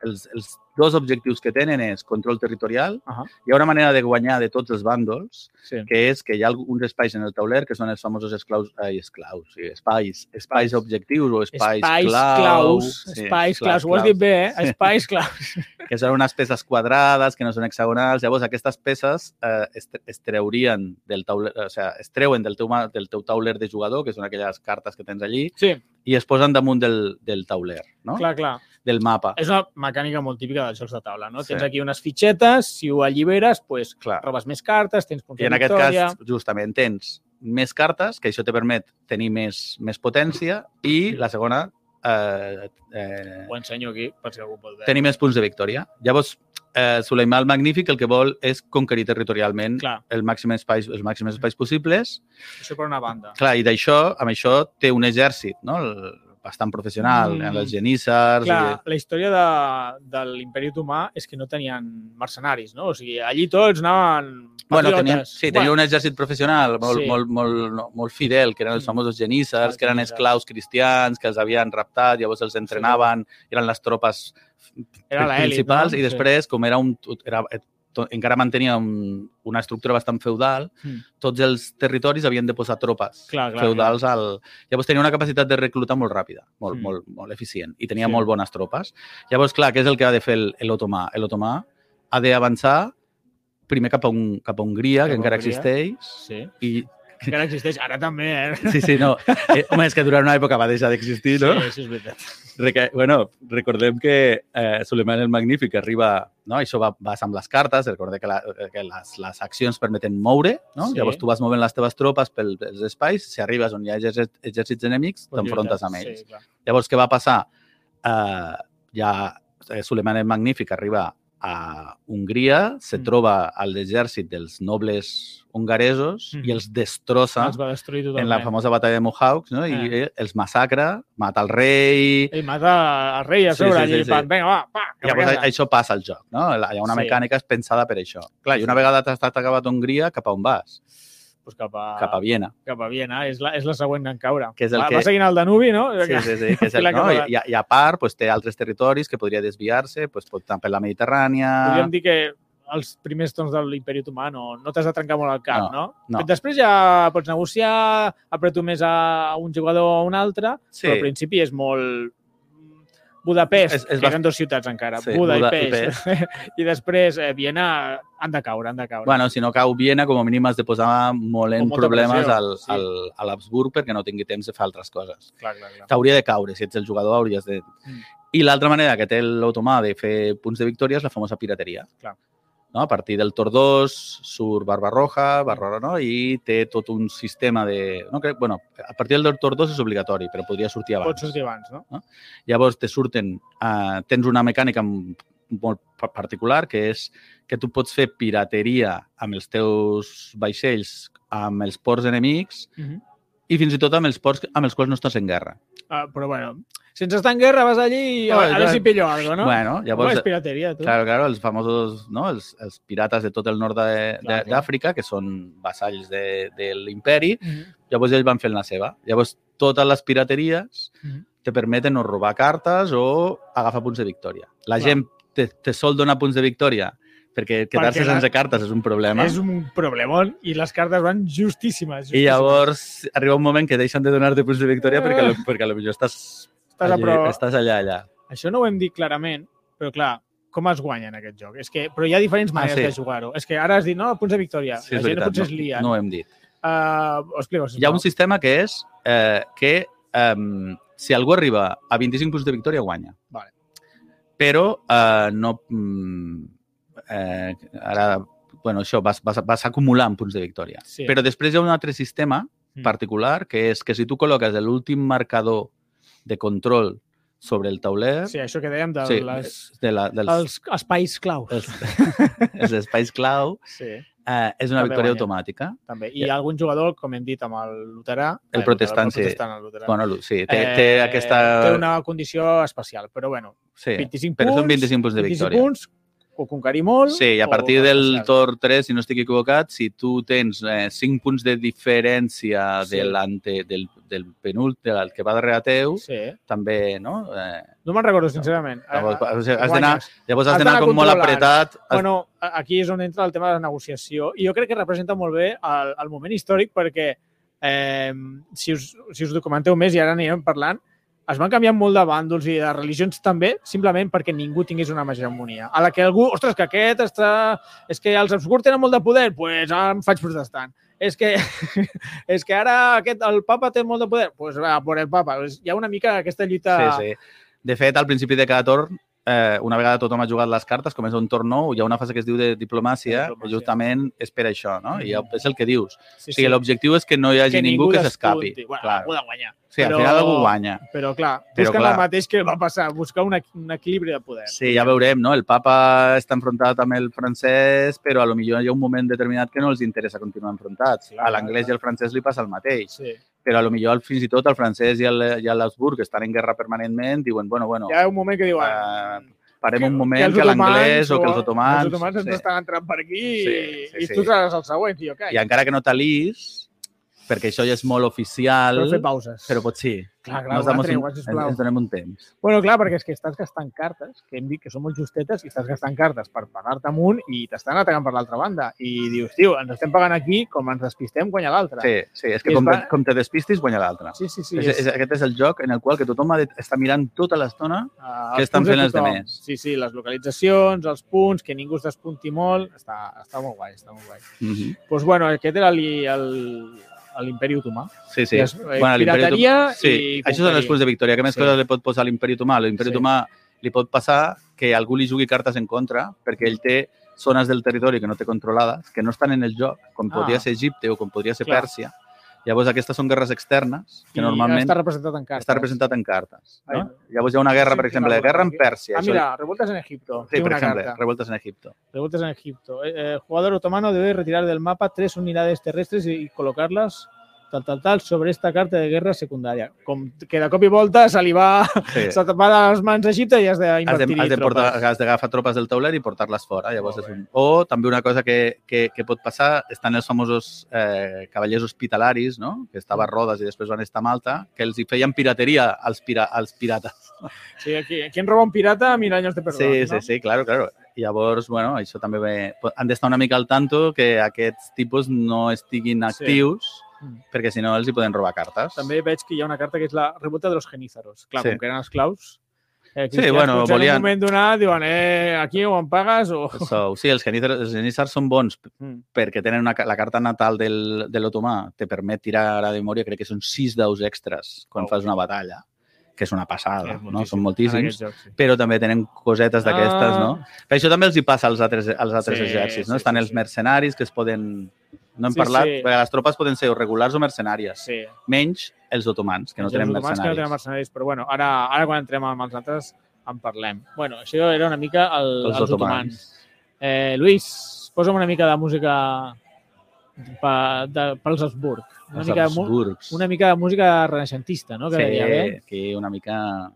els, els dos objectius que tenen és control territorial.
Ahà.
Hi ha una manera de guanyar de tots els bàndols,
Sí.
que és que hi ha uns espais en el tauler que són els famosos esclaus, ai, esclaus, sí, espais, espais objectius o espais,
Espais
claus.
claus, espais claus, ho has dit bé, eh? Espais claus.
Que són unes peces quadrades, que no són hexagonals. Llavors, aquestes peces eh, es, es treurien del tauler, o sigui, es treuen del teu, ma- del teu tauler de jugador, que són aquelles cartes que tens allí,
Sí,
i es posen damunt del, del tauler, no?
clar, clar.
del mapa.
És una mecànica molt típica dels jocs de taula, no?
Sí.
Tens aquí unes fitxetes, si ho alliberes, doncs
Clar.
robes més cartes, tens punts
I en
de
aquest
victòria...
cas, justament, tens més cartes, que això te permet tenir més, més potència, i la segona, eh, eh,
Ho ensenyo aquí, per si algú pot veure.
tenir més punts de victòria. Llavors, eh, Suleimà el Magnífic el que vol és conquerir territorialment
Clar,
el màxim espais, els màxims espais possibles.
això per una banda.
Clar, i d'això, amb això, té un exèrcit, no?, el, bastant professional,
Mm.
mm. els genissars...
Clar, la història de, de l'imperi otomà és que no tenien mercenaris, no? O sigui, allí tots anaven
Bueno,
patriotes.
tenien, sí, tenien un exèrcit professional molt,
Sí.
sí. molt, molt, no, molt fidel, que eren els
Mm.
famosos genissars,
Els
que eren
genissars.
esclaus cristians, que els havien raptat, llavors els entrenaven, eren les tropes
era l'elit,
principals,
no?
i després, com era un, era, to- encara mantenia un, una estructura bastant feudal,
Mm.
tots els territoris havien de posar tropes
Clar, Ah, clar,
feudals. Al... Llavors tenia una capacitat de reclutar molt ràpida, molt,
Mm.
molt, molt eficient, i tenia
Sí.
molt bones tropes. Llavors, clar, què és el que ha de fer el- l'otomà? L'otomà ha d'avançar primer cap a, un, cap a Hungria,
Cap
que
a
encara
Hongria.
existeix,
Sí,
i...
encara existeix, ara també, eh?
Sí, sí, no. Eh, home, és que durant una època va deixar d'existir, no?
Sí, sí, és veritat.
Reca... Bueno, recordem que eh, Suleiman el Magnífic arriba, no? això va, vas amb les cartes, recordem que, la, que les, les accions permeten moure, no?
Sí.
sí. llavors tu vas movent les teves tropes pel- pels espais, si arribes on hi ha exèrcit- exèrcits enemics, *laughs* t'enfrontes amb ells.
Sí, clar.
Sí. Llavors, què va passar? Eh, ja eh, Suleiman el Magnífic arriba a Hongria, se
Mm.
troba a l'exèrcit dels nobles hongaresos
Mhm.
i els destrossa
Els va destruir
en
totalment.
la famosa batalla de Mohawks, no? I
Eh.
eh, els massacra, mata el rei...
Ell mata el rei a
Sí,
sobre,
sí,
allí,
sí, sí.
pam, vinga, va, pa,
I
cap a
Llavors,
casa.
això passa al joc, no? La- Hi ha una
Sí.
mecànica és pensada per això. Clar, i una vegada t'has t'has acabat Hongria, cap a on vas?
Pues cap a,
Cap a Viena.
cap a Viena, és la, és la següent en caure.
Que és el
va,
que-
va seguint el Danubi, no?
Ah, Sí, sí, sí, *laughs* que és el,
Clar que
no?
va.
I, I a part, pues, té altres territoris que podria desviar-se, pues, pot tant per la Mediterrània...
Podríem dir que els primers tons de l'imperi otomà no, no t'has de trencar molt el cap, no?
no.
Però Després ja pots negociar, apreto més a un jugador o a un altre, sí.
Sí,
però al principi és molt... Budapest,
És-
és,
és
és que eren dues ciutats encara,
Sí,
sí, Buda,
Buda
Buda
i
i Pest. *laughs* I després eh, Viena han de caure, han de caure.
bueno, si no cau Viena, com a mínim has de posar molt en
molta
problemes
pressió,
al,
sí.
al, a l'Habsburg perquè no tingui temps de fer altres coses.
clar, clar, clar.
t'hauria de caure. Si ets el jugador, hauries de...
Mm.
I l'altra manera que té l'automà de fer punts de victòria és la famosa pirateria.
Clar.
No? A partir del Tor 2 surt
Mm.
Barbarroja, Barbarroja, no? i té tot un sistema de... No crec... bueno, a partir del Tor 2 és obligatori, però podria sortir abans.
Pots sortir abans, no?
Llavors te surten... Uh, tens una mecànica molt pa- particular, que és que tu pots fer pirateria amb els teus vaixells, amb els ports enemics
Uh -huh.
i fins i tot amb els ports amb els quals no estàs en guerra.
ah, però bueno, sense estar en guerra vas allí i a,
Oh,
a veure
clar.
si pillo alguna no?
Bueno,
Llavors,
llavors,
és pirateria, tu.
Claro, claro, els famosos, no? els, els pirates de tot el nord de- de-
Clar, clar.
d'Àfrica, que són vassalls de, de l'imperi,
Mhm.
llavors ells van fent la seva. Llavors, totes les pirateries
Mhm.
te permeten o robar cartes o agafar punts de victòria. La
Clar.
gent te, te sol donar punts de victòria perquè quedar-se
la-
sense cartes és un problema.
És un problememon i les cartes van justíssimes. justíssimes.
I llavors arriba un moment que deixen de donar-te punts de victòria
Ah.
perquè, lo- perquè potser estàs,
Estàs a
allí-
prova.
estàs allà, allà.
Això no ho hem dit clarament, però clar, com es guanya en aquest joc? És que, però hi ha diferents
Ah,
maneres
sí.
de jugar-ho. És que ara has dit, no, punts de victòria.
Sí,
la
és
gent
veritat,
potser es lia.
no, no ho hem dit.
Uh, ho explico,
hi ha
sisplau.
un sistema que és eh, que eh, si algú arriba a 25 punts de victòria, guanya.
Vale.
Però eh, no... mm, Eh, ara, bueno, això, vas, vas, vas acumulant punts de victòria.
Sí.
Però després hi ha un altre sistema
Mm.
particular que és que si tu col·loques l'últim marcador de control sobre el tauler.
Sí, això que dèiem de
Sí,
les,
de la, dels,
els espais claus.
els, *laughs* els espais clau.
Sí,
Eh, és una
També guanya.
victòria automàtica.
també. I
Ja.
algun jugador, com hem dit, amb el Luterà...
El
eh,
protestant,
el
sí.
protestant, el Luterà.
Bueno, Lu- sí, té, té
Eh,
aquesta...
Té una condició especial, però bueno,
Sí,
25
però
punts,
són 25 punts de victòria.
punts, ho conquerir molt...
Sí, i a
o
partir
molt
del
especial.
torn 3, si no estic equivocat, si tu tens eh, 5 punts de diferència
Sí.
de l'ante, del, del penúltim, del que va darrere teu,
Sí.
també, no? Eh,
No me'n recordo, sincerament.
llavors,
Eh,
o sigui, has d'anar
guanyes.
Llavors
Has
has d'anar
d'anar
com molt
controlant.
apretat. has-
Bueno, a- aquí és on entra el tema de la negociació i jo crec que representa molt bé el, el moment històric perquè eh, si, us, si us documenteu més i ara anirem parlant, es van canviar molt de bàndols i de religions també, simplement perquè ningú tingués una hegemonia. A la que algú, ostres, que aquest està... És que els obscurs tenen molt de poder, doncs pues ara em faig protestant. És que, *laughs* és que ara aquest, el papa té molt de poder, doncs pues va, por el papa. Hi ha una mica aquesta lluita...
Sí, sí. De fet, al principi de cada torn, eh, una vegada tothom ha jugat les cartes, comença un torn nou, hi ha una fase que es diu de
De
diplomàcia,
diplomàcia.
justament és per això, no? I
Mm.
és el que dius. O sigui, l'objectiu és que no hi hagi ningú, que s'escapi.
despunti. Bueno,
clar.
algú ha de guanyar.
Sí, al
però-
final algú guanya.
Però clar,
Però,
busquen
clar.
el mateix que va passar, buscar un, equ- un equilibri de poder.
Sí, ja veurem, no? El papa està enfrontat amb el francès, però a lo millor hi ha un moment determinat que no els interessa continuar enfrontats.
Sí, clar,
A l'anglès i
clar.
al francès li passa el mateix,
Sí.
però a lo millor al- fins i tot el francès i el- i l'Habsburg, que estan en guerra permanentment, diuen, bueno, bueno,
Hi ha un moment que diuen... "Mm,
Eh, parem un
que-
moment
que
que,
els
l'anglès o que els
Els
otomans...
otomans ens
sí.
estan entrant per aquí
Sí, sí,
i,
sí.
i tu seràs el següent, tio, cai.
I encara que no talís, perquè això ja és molt oficial,
Però fer
però,
pauses.
pot sí.
Clar, clar,
Nos
una
damos
tregua,
un,
sisplau.
ens donem un temps.
Bueno, clar, perquè és que estàs gastant cartes, que hem dit que són molt justetes, i estàs gastant cartes per pagar-te amunt i t'estan atacant per l'altra banda. I dius, tio, ens estem pagant aquí, com ens despistem, guanya l'altre.
Sí, sí, és que
I es
com,
va-
te- com te despistis guanya l'altre.
sí, sí. sí
és, és, aquest és el joc en el qual que tothom ha de estar mirant tota l'estona
Uh,
Què estan fent els demés?
Sí, sí, les localitzacions, els punts, que ningú es despunti molt, està, està molt guai, està molt guai. Doncs
mm -hmm.
pues, bueno, aquest era li- el- l'imperi otomà.
Sí, sí.
I es- eh,
l'Imperi Otomà-
pirateria
sí,
i
Això són els
conquerir.
punts de victòria. Que més
Sí.
coses li pot posar a l'Imperi Otomà? A L'Imperi
Sí.
Otomà li pot passar que algú li jugui cartes en contra perquè ell té zones del territori que no té controlades, que no estan en el joc, com
Ah.
podria ser Egipte o com podria ser
Clar.
Pèrsia. Llavors, aquestes són guerres externes que
I
normalment
Està representat en cartes.
està representat en cartes. No?
Ai.
Llavors, hi ha una guerra, per
Sí,
exemple, la
alguna
guerra en
cosa.
Pèrsia.
Ah,
això-
mira, revueltas en Egipto.
sí,
Tinc
per
una
exemple,
carta.
revoltes en
*laughs*
Egipto.
Revueltas en Egipto. Eh, eh, jugador otomano debe retirar del mapa tres unidades terrestres y, y colocarlas tal, tal, tal, sobre esta carta de guerra secundaria. Com que de cop i volta se li va,
Sí.
se te va de les mans a Egipte i has
Has de,
d'invertir-hi
has de portar,
tropes.
has d'agafar tropes del tauler i portar-les fora. Llavors
Molt
és un... O també una cosa que, que, que pot passar, estan els famosos eh, cavallers hospitalaris, no?
Mm.
que estava a Rodes i després van estar a Malta, que els hi feien pirateria als, pira, als pirates.
Sí, aquí, quien roba un pirata, mil años de perdón.
sí,
no?
sí, sí, claro, claro. Llavors, bueno, això també ve... han d'estar una mica al tanto que aquests tipus no estiguin
Sí.
actius,
Mm.
perquè si no els hi poden robar cartes.
També veig que hi ha una carta que és la revolta dels genízaros. Clar,
Sí.
sí. com que eren esclaus, eh,
Sí, bueno,
potser
volien-
En un moment donat diuen, eh, aquí o em pagues o...
So, sí, els genízars, els genízars són bons
Mm.
perquè tenen una, ca- la carta natal del, de l'otomà, te permet tirar a memòria, crec que són sis daus extras quan
Au.
fas una batalla, que és una passada,
És
no? són
en aquest
moltíssims,
joc, sí.
però també tenen cosetes d'aquestes,
Ah.
no? Per això també els hi passa als altres, als altres
Sí,
exèrcits, no?
sí,
Estan
sí,
els
sí.
mercenaris que es poden... No hem
Sí,
parlat,
sí.
perquè les tropes poden ser o regulars o mercenàries,
Sí.
menys els otomans, que no
Els
tenen
otomans Que no tenen
mercenaris.
mercenaris, però bueno, ara, ara quan entrem amb els altres en parlem. Bueno, això era una mica el, els, els otomans. Eh, Lluís, posa'm una mica de música pa, de, pels Habsburg. Una,
Els
mica de, mu-
Habsburgs.
una mica de música renaixentista, no? Que
Sí,
deia, bé.
que una mica...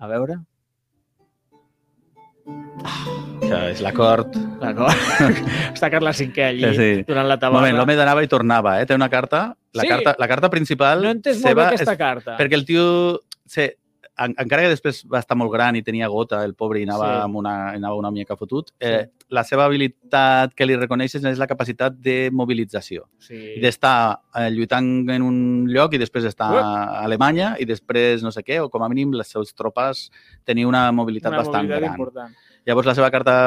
A veure.
Això és l'acord.
D'acord.
*laughs*
Està Carles Cinquè allí
Sí,
sí,
sí.
sí. durant la
Un
tabarra.
moment, l'home anava i tornava, eh? Té una carta, la,
Sí.
carta, la carta principal
No he entès molt
seva
bé aquesta
és-
carta.
Perquè el tio, sé, en, encara que després va estar molt gran i tenia gota, el pobre, i anava,
Sí.
amb una, anava una mica fotut, eh, la seva habilitat que li reconeixes és la capacitat de mobilització.
Sí.
I D'estar eh, lluitant en un lloc i després estar a Alemanya i després no sé què, o com a mínim les seves tropes tenir una mobilitat
Una
bastant
mobilitat
gran.
important.
Llavors la seva carta,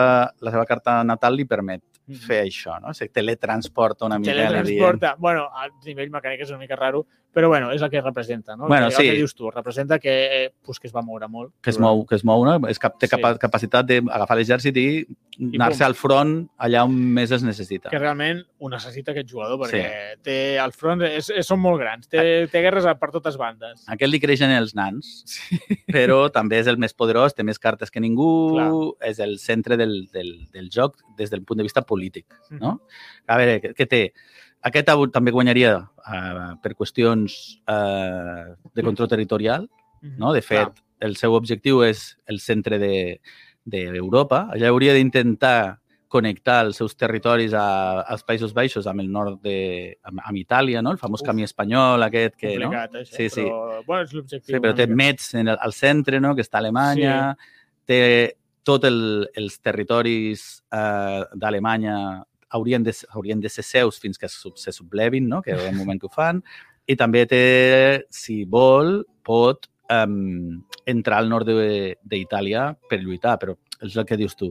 la seva carta natal li permet fer això, no? Se teletransporta una mica. li diem.
Teletransporta. Bueno, a nivell mecànic és una mica raro, però bueno, és el que representa, no? El
Bueno,
que, el
sí.
que dius tu, representa que, eh, pues, que es va moure molt.
que es mou, que es mou no? és cap, té
Sí.
capa, capacitat d'agafar l'exèrcit i anar-se
pum.
al front allà on més es necessita.
Que realment ho ho necessita aquest jugador, perquè sí. té, el front és, és, són molt grans,
Ah.
té, té guerres per totes bandes.
Aquest li creixen els nans,
*laughs*
sí. però també és el més poderós, té més cartes que ningú, Clar. és el centre del, del, del joc des del punt de vista polític.
Mm-hmm.
No? A veure, què, què té? Aquest també guanyaria uh, per qüestions uh, de control territorial.
Mm-hmm.
No? De fet, Clar. el seu objectiu és el centre d'Europa. De, de Allà hauria d'intentar connectar els seus territoris a, als Països Baixos amb el nord de... amb, amb Itàlia, no? El famós Uf, camí espanyol aquest que...
Complicat,
no?
això, sí, sí. però bueno, és l'objectiu.
Sí, però té Metz en el, al centre, no? Que està a Alemanya, sí. té tot el, els territoris eh, d'Alemanya haurien de, haurien de ser seus fins que sub, se sublevin, no? que és el moment que ho fan, i també té, si vol, pot um, entrar al nord d'Itàlia per lluitar, però és el que dius tu.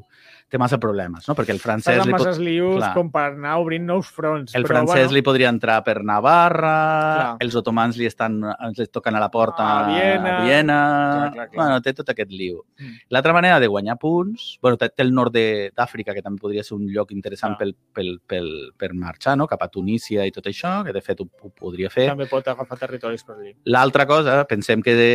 Té massa problemes, no? Perquè el francès...
Li masses pot... lius clar, com per anar obrint nous fronts.
El però, francès bueno... li podria entrar per Navarra, clar. els otomans li estan ens li toquen a la porta
a Viena...
A Viena. Clar, clar, clar. Bueno, té tot aquest liu. Mm. L'altra manera de guanyar punts... Bueno, té, el nord d'Àfrica, que també podria ser un lloc interessant clar. pel, pel, pel, per marxar, no? Cap a Tunísia i tot això, que de fet ho, ho podria fer.
També pot agafar territoris per allà.
L'altra cosa, pensem que de,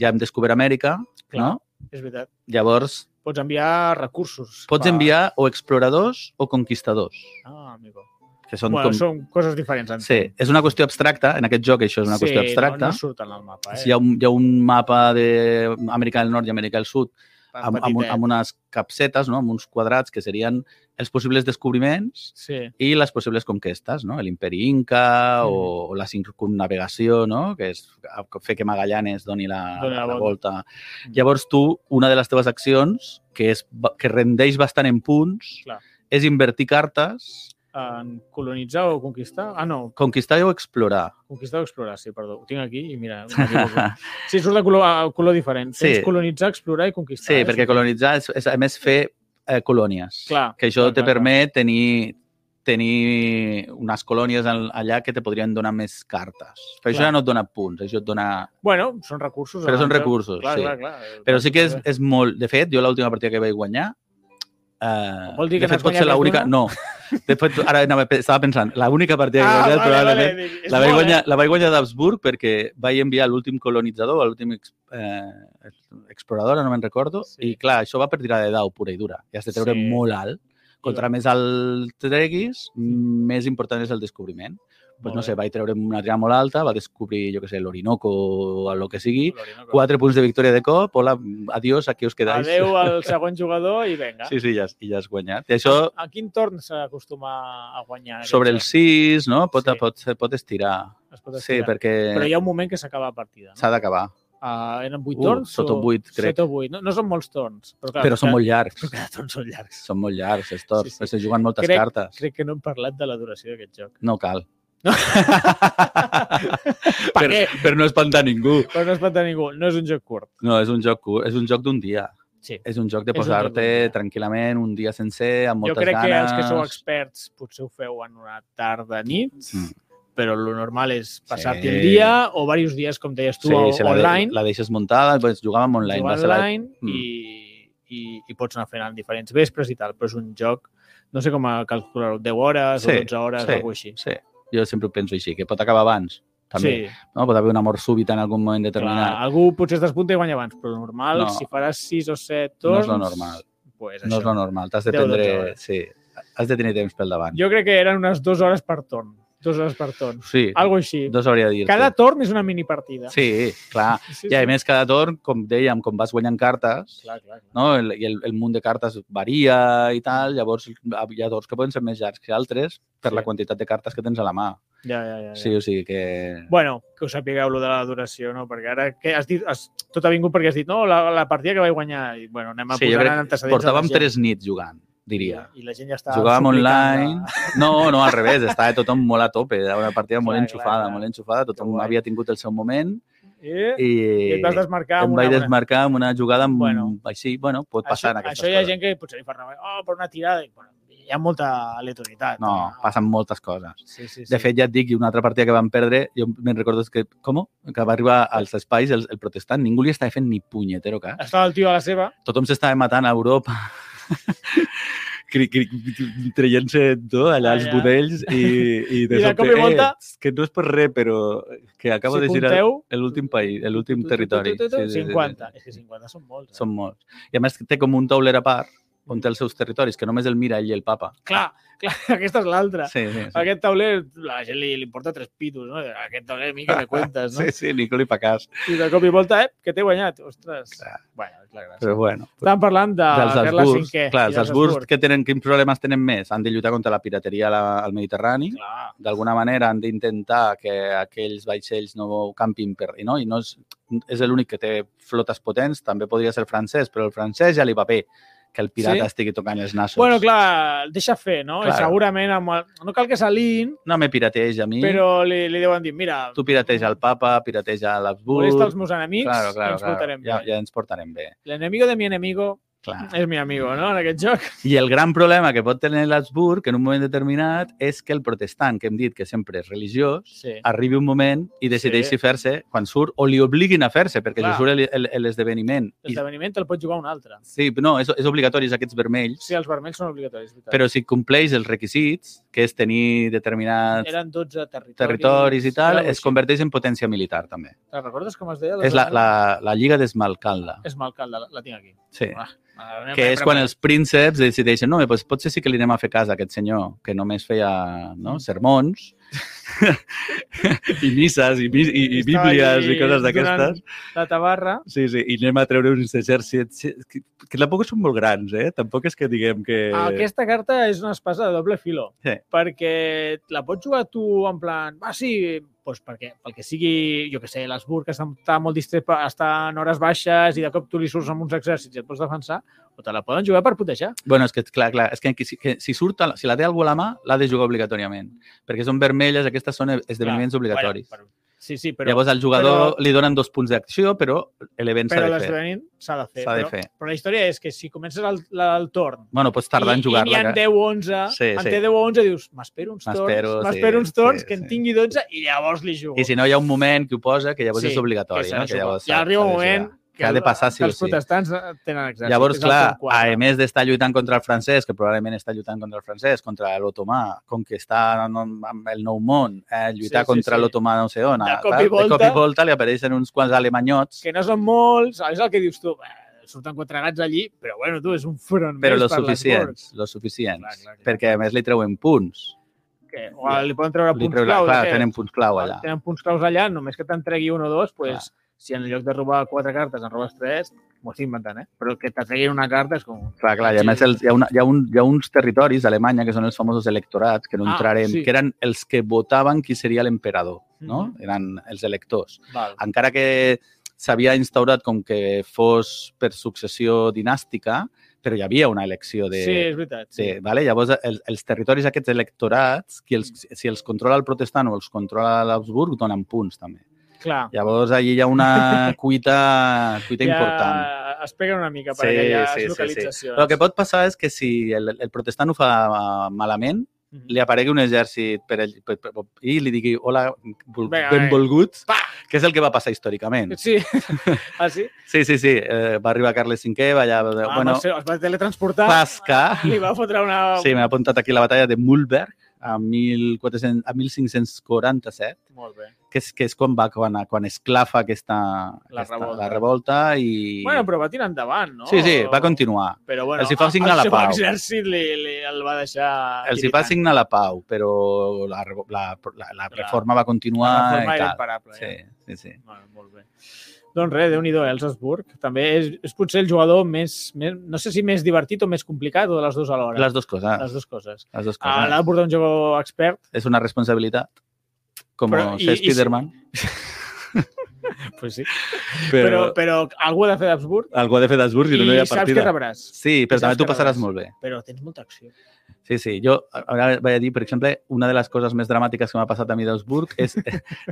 ja hem descobert Amèrica, clar,
no? És veritat.
Llavors,
Pots enviar recursos.
Pots per... enviar o exploradors o conquistadors.
Ah, amigo.
Que són,
bueno, com... són coses diferents.
Entenc. Sí, és una qüestió abstracta. En aquest joc això és una sí, qüestió
Sí,
abstracta.
no, no surten al mapa. Eh?
Sí, hi, ha un, hi ha un mapa d'Amèrica de del Nord i Amèrica del Sud Tan amb, amb, amb unes capsetes, no? amb uns quadrats que serien els possibles descobriments
sí.
i les possibles conquestes, no? l'imperi inca mm. o, o la circunnavegació, no? que és fer que Magallanes doni la, doni la, volta. la volta. Mm. Llavors tu, una de les teves accions, que, és, que rendeix bastant en punts, Clar. és invertir cartes
en colonitzar o conquistar? Ah, no.
Conquistar o explorar.
Conquistar o explorar, sí, perdó. Ho tinc aquí i
*laughs*
mira... sí, surt de color, ah, color diferent. Sí. Tens colonitzar, explorar i conquistar.
Sí, eh? perquè colonitzar és, és a més, fer eh, colònies.
Clar.
Que això
clar,
te clar, permet clar. tenir tenir unes colònies allà que te podrien donar més cartes. Però clar. això ja no et dona punts, això et dona...
Bueno, són recursos.
Però són recursos, clar, sí. Clar, clar, Però sí que és,
Doncs
és molt... De fet, jo l'última partida que vaig guanyar eh,
Uh, Vol dir que
de fet, pot ser l'única... No, de fet, ara anava, estava pensant, l'única partida que ah, vaig guanyar, vale, probablement, vale, vale. la, vaig guanyar, eh? la vaig guanyar d'Habsburg perquè vaig enviar l'últim colonitzador, l'últim eh, explorador, no me'n recordo, sí. i clar, això va per tirar de dau pura i dura. I has de treure sí. molt alt. Contra sí. més alt treguis, més important és el descobriment. Pues, no sé, vaig treure una tirada molt alta, va descobrir, jo que sé, l'Orinoco o el que sigui, quatre punts de victòria de cop, hola, adiós, aquí us quedais. *laughs*
Adeu al segon jugador i venga.
Sí, sí, ja, ja has guanyat. I això...
A, a quin torn s'acostuma a guanyar?
Sobre el 6, no? Pot, sí. pot, pot, estirar.
Es pot estirar.
Sí, perquè...
Però hi ha un moment que s'acaba la partida. No?
S'ha d'acabar.
Uh, eren 8 uh, torns?
Sota 8, o... crec.
Sota 8. No, no són molts torns.
Però, clar, però són
clar,
molt llargs.
Però cada torn són llargs.
Són molt llargs, els torns. Sí, sí. Perquè juguen moltes
crec,
cartes.
Crec que no hem parlat de la duració d'aquest joc.
No cal. *laughs* No? per, què? *laughs* per no espantar ningú.
Per no espantar ningú. No és un joc curt.
No, és un joc curt. És un joc d'un dia.
Sí.
És un joc de posar-te tranquil·lament un dia sencer, amb moltes
ganes. Jo crec
ganes.
que els que sou experts potser ho feu en una tarda nit, mm però lo normal és passar-te sí. el dia o diversos dies, com deies tu, sí, o,
si la
online.
De, la deixes muntada, doncs jugàvem online.
Jugàvem online la... Mm. i, i, i pots anar fent en diferents vespres i tal, però és un joc, no sé com calcular-ho, 10 hores sí, o 12 hores o
sí,
alguna així.
Sí, jo sempre ho penso així, que pot acabar abans. També, sí. no? Pot haver una mort súbita en algun moment determinat.
Clar, algú potser es despunta i guanya abans, però normal, no, si faràs 6 o 7 torns...
No és lo normal.
Pues,
no és lo normal. T'has de prendre... Sí, has de tenir temps pel davant.
Jo crec que eren unes dues hores per torn. Dos hores per torn.
Sí.
Algo així.
Dos hauria de dir -te.
Cada torn és una mini partida.
Sí, clar. Sí, sí. I a més, cada torn, com dèiem, com vas guanyant cartes,
clar, clar, clar.
No? El, i el, el munt de cartes varia i tal, llavors hi ha torns que poden ser més llargs que altres per sí. la quantitat de cartes que tens a la mà.
Ja, ja, ja, ja.
Sí, o sigui que...
Bueno, que us sapigueu lo de la duració, no? Perquè ara que has dit, has, tot ha vingut perquè has dit, no, la, la partida que vaig guanyar, i bueno, anem a sí, posar en antecedents.
Portàvem tres nits jugant diria.
I la gent ja estava...
Jugàvem online... A... No, no, al revés, estava tothom molt a tope, era una partida clar, molt enxufada, clar, clar. molt enxufada, tothom havia tingut el seu moment
i, i, eh? i et vas desmarcar
em vaig una... desmarcar amb una jugada amb... bueno, així, bueno, pot passar
això,
en aquestes
Això hi ha gent que potser li fa remei, oh, per una tirada, i, bueno, hi ha molta aleatorietat.
No, no, passen moltes coses.
Sí, sí, sí.
De fet, ja et dic, i una altra partida que vam perdre, jo me'n recordo que, com? Que va arribar als espais el, el protestant, ningú li
*laughs*
estava fent ni punyetero cas.
Estava el tio a la seva.
*laughs* Tothom s'estava matant a Europa
cri, cri, traient-se tot allà els
Allà.
budells i, i de,
I de cop i volta-
eh, que no és per res, però que acabo
Si
de girar
compteu-
l'últim país, l'últim territori.
Tu, tu, tu, tu, tu,
Sí, sí, sí, sí.
50. És que 50 són molts. Eh?
Són molts. I a més té com un tauler a part on té els seus territoris, que només el mira ell i el papa.
Clar, clar, *laughs* aquesta és l'altra.
Sí, sí, sí.
Aquest tauler, a la gent li, li importa tres pitos, no? Aquest tauler, a mi
*laughs*
que me cuentes, no?
Sí, sí, Nico li fa cas.
I de cop i volta, eh, que t'he guanyat. Ostres.
Clar.
Bueno, és la gràcia.
Però bueno.
Estàvem parlant de
dels
Carles
Habsburgs,
V. Ah,
clar,
i
els
dels
Habsburgs que tenen, quins problemes tenen més? Han de lluitar contra la pirateria a la, al Mediterrani,
Clar.
d'alguna manera han d'intentar que aquells vaixells no campin per... I no, I no és, és l'únic que té flotes potents, també podria ser francès, però el francès ja li va bé que el pirata
Sí?
estigui tocant els nassos.
Bueno, clar, el deixa fer, no?
Clar.
I segurament, amb el... no cal que s'alin,
No me pirateja a mi, però...
però li, li deuen dir, mira,
tu pirateja al papa, pirateja a l'Habsburg...
molesta els meus enemics
Claro,
i
claro,
ens portarem
claro. Ja,
bé.
ja ens portarem bé.
L'enemigo de mi enemigo
Clar.
és mi amigo, no?, en aquest joc.
I el gran problema que pot tenir l'Habsburg en un moment determinat és que el protestant, que hem dit que sempre és religiós,
Sí.
arribi un moment i decideixi fer-se quan surt, o li obliguin a fer-se, perquè
Clar.
si surt el- el- l'esdeveniment. I,
L'esdeveniment te'l pot jugar un altre.
sí, no, és, és obligatori és aquests vermells,
Sí, els vermells són obligatoris, és veritat.
però si compleix els requisits, que és tenir determinats
Eren 12 territoris.
territoris i tal,
Era
es converteix en potència militar, també.
Te'n recordes com es deia?
És la, la, la Lliga d'Esmalcalda,
És Malcalda, la, la tinc aquí.
sí.
Ah,
Que és quan els prínceps decideixen, no, doncs potser sí que li anem a fer cas a aquest senyor, que només feia
Mm.
no,
*laughs*
sermons *laughs* i misses i, mis- i, i
Estava
bíblies i
allí
coses d'aquestes.
durant La tabarra.
Sí, sí, i anem a treure uns exèrcits que, que tampoc són molt grans, eh? Tampoc és que diguem
Eh.
que...
Aquesta carta Ah, és una espasa de doble filo,
Sí.
perquè la pots jugar tu en plan, va, sí, doncs perquè, pel que sigui, jo que sé, l'Asburg està, està molt distret, pa- està en hores baixes i de cop tu li surts amb uns exèrcits i et pots defensar, o te la poden jugar per putejar.
Bueno, és que, clar, clar, és que, si- que si, surt, a la- si la té algú a la mà, l'ha de jugar obligatòriament, perquè són vermelles, aquestes són esdeveniments obligatoris.
Bueno, però, sí, sí,
però,
però,
Llavors, al jugador li donen dos punts d'acció, però l'event s'ha
però
de fer.
l'esdeveniment s'ha de fer.
S'ha de
Però,
fer.
però la història és que si comences el, la, el torn
Bueno, pots tardar en
I n'hi
jugar-la.
ha 10 o 11, sí,
Sí,
en
sí.
té 10 o 11, dius, m'espero uns
M'espero,
torns,
sí,
m'espero uns torns,
sí,
que en
sí.
tingui 12 i llavors li jugo.
I si no, hi ha un moment que ho posa, que llavors
Sí,
és obligatori.
s'ha
no?
de
que
jugar.
llavors
ja
s'ha-
arriba un
s'ha de
moment
jugar. que ha de passar sí
que
o
els
sí.
protestants eh, tenen exèrcit.
Llavors,
és el
clar,
punt quatre.
a més d'estar lluitant contra el francès, que probablement està lluitant contra el francès, contra l'otomà, com que està en, en el nou món, eh, lluitar
Sí,
sí,
sí,
sí, contra
sí.
sí. l'otomà no sé on,
De
eh,
cop i
tal, de cop
volta-
i volta li apareixen uns quants alemanyots,
Que no són molts, és el que dius tu, eh, surten quatre gats allí, però bueno, tu, és un front
però
més
los
per
suficients,
l'Asburg.
los suficients,
Clar, clar, clar.
perquè a més li treuen punts.
Que, o li poden treure
Li
punts
treuen,
clau.
clar,
eh,
tenen punts clau allà.
tenen punts claus allà, només que te'n tregui un o dos, pues, si en lloc de robar quatre cartes en robes tres, m'ho estic inventant, eh? Però que te treguin una carta és com...
Clar, clar, i a més el, hi, ha una, hi, ha un, hi ha uns territoris a Alemanya que són els famosos electorats, que no
Ah,
entrarem,
sí.
que eren els que votaven qui seria l'emperador, no?
Mhm.
Eren els electors.
Val.
encara que s'havia instaurat com que fos per successió dinàstica, però hi havia una elecció de...
Sí, és veritat.
de
Sí.
vale? Llavors, el, els territoris aquests electorats, qui els, si els controla el protestant o els controla l'Habsburg, donen punts, també.
Clar.
Llavors, allí hi
*laughs*
ha una cuita, cuita important.
Es peguen una mica per
Sí,
aquelles
sí, sí, sí.
localitzacions.
Però el que pot passar és que si el, el protestant ho fa eh, malament,
Mhm.
li aparegui un exèrcit per ell, per, per, i li digui hola, vol-
Vinga,
benvolguts,
Pa!
que és el que va passar històricament.
*laughs* Sí. ah, sí?
Sí, sí, sí. Eh, va arribar Carles V, va
Ah,
allà... Ah,
bueno,
bueno,
no sé, es va teletransportar.
Pasca.
Li va fotre una...
Sí, m'ha apuntat aquí la batalla de Mühlberg a, 1400, a 1547,
Molt bé.
que és, que és quan va quan, quan esclafa aquesta,
La
aquesta
revolta.
la revolta i...
Bueno, però va tirar endavant, no?
Sí, sí, va continuar.
Però bueno,
Els hi fa
el-
signar la pau.
El seu exèrcit li, li, el va deixar...
Els hi va signar la pau, però la, revo- la, la, la reforma va
la
continuar
reforma
i
era
tal.
imparable.
Sí,
Sí.
sí, sí.
eh? Bueno, molt bé. Doncs res, déu-n'hi-do, eh, els Habsburg. També és, és potser el jugador més, més... No sé si més divertit o més complicat o de les dues alhora.
Les dues coses.
les dues coses.
Les dues
Ah,
coses.
L'ha de portar un jugador expert,
És una responsabilitat. Com
Però- i- i
ser
si-
Spiderman.
pues sí.
Però,
però, però algú ha de fer d'Habsburg
algú ha de fer d'esburs
i,
i no hi ha
saps que
partida.
rebràs.
Sí, però
saps
també
que
tu passaràs
rebràs.
molt bé.
Però tens molta acció.
Sí, sí. Jo ara vaig a dir, per exemple, una de les coses més dramàtiques que m'ha passat a mi d'Augsburg
*laughs*
és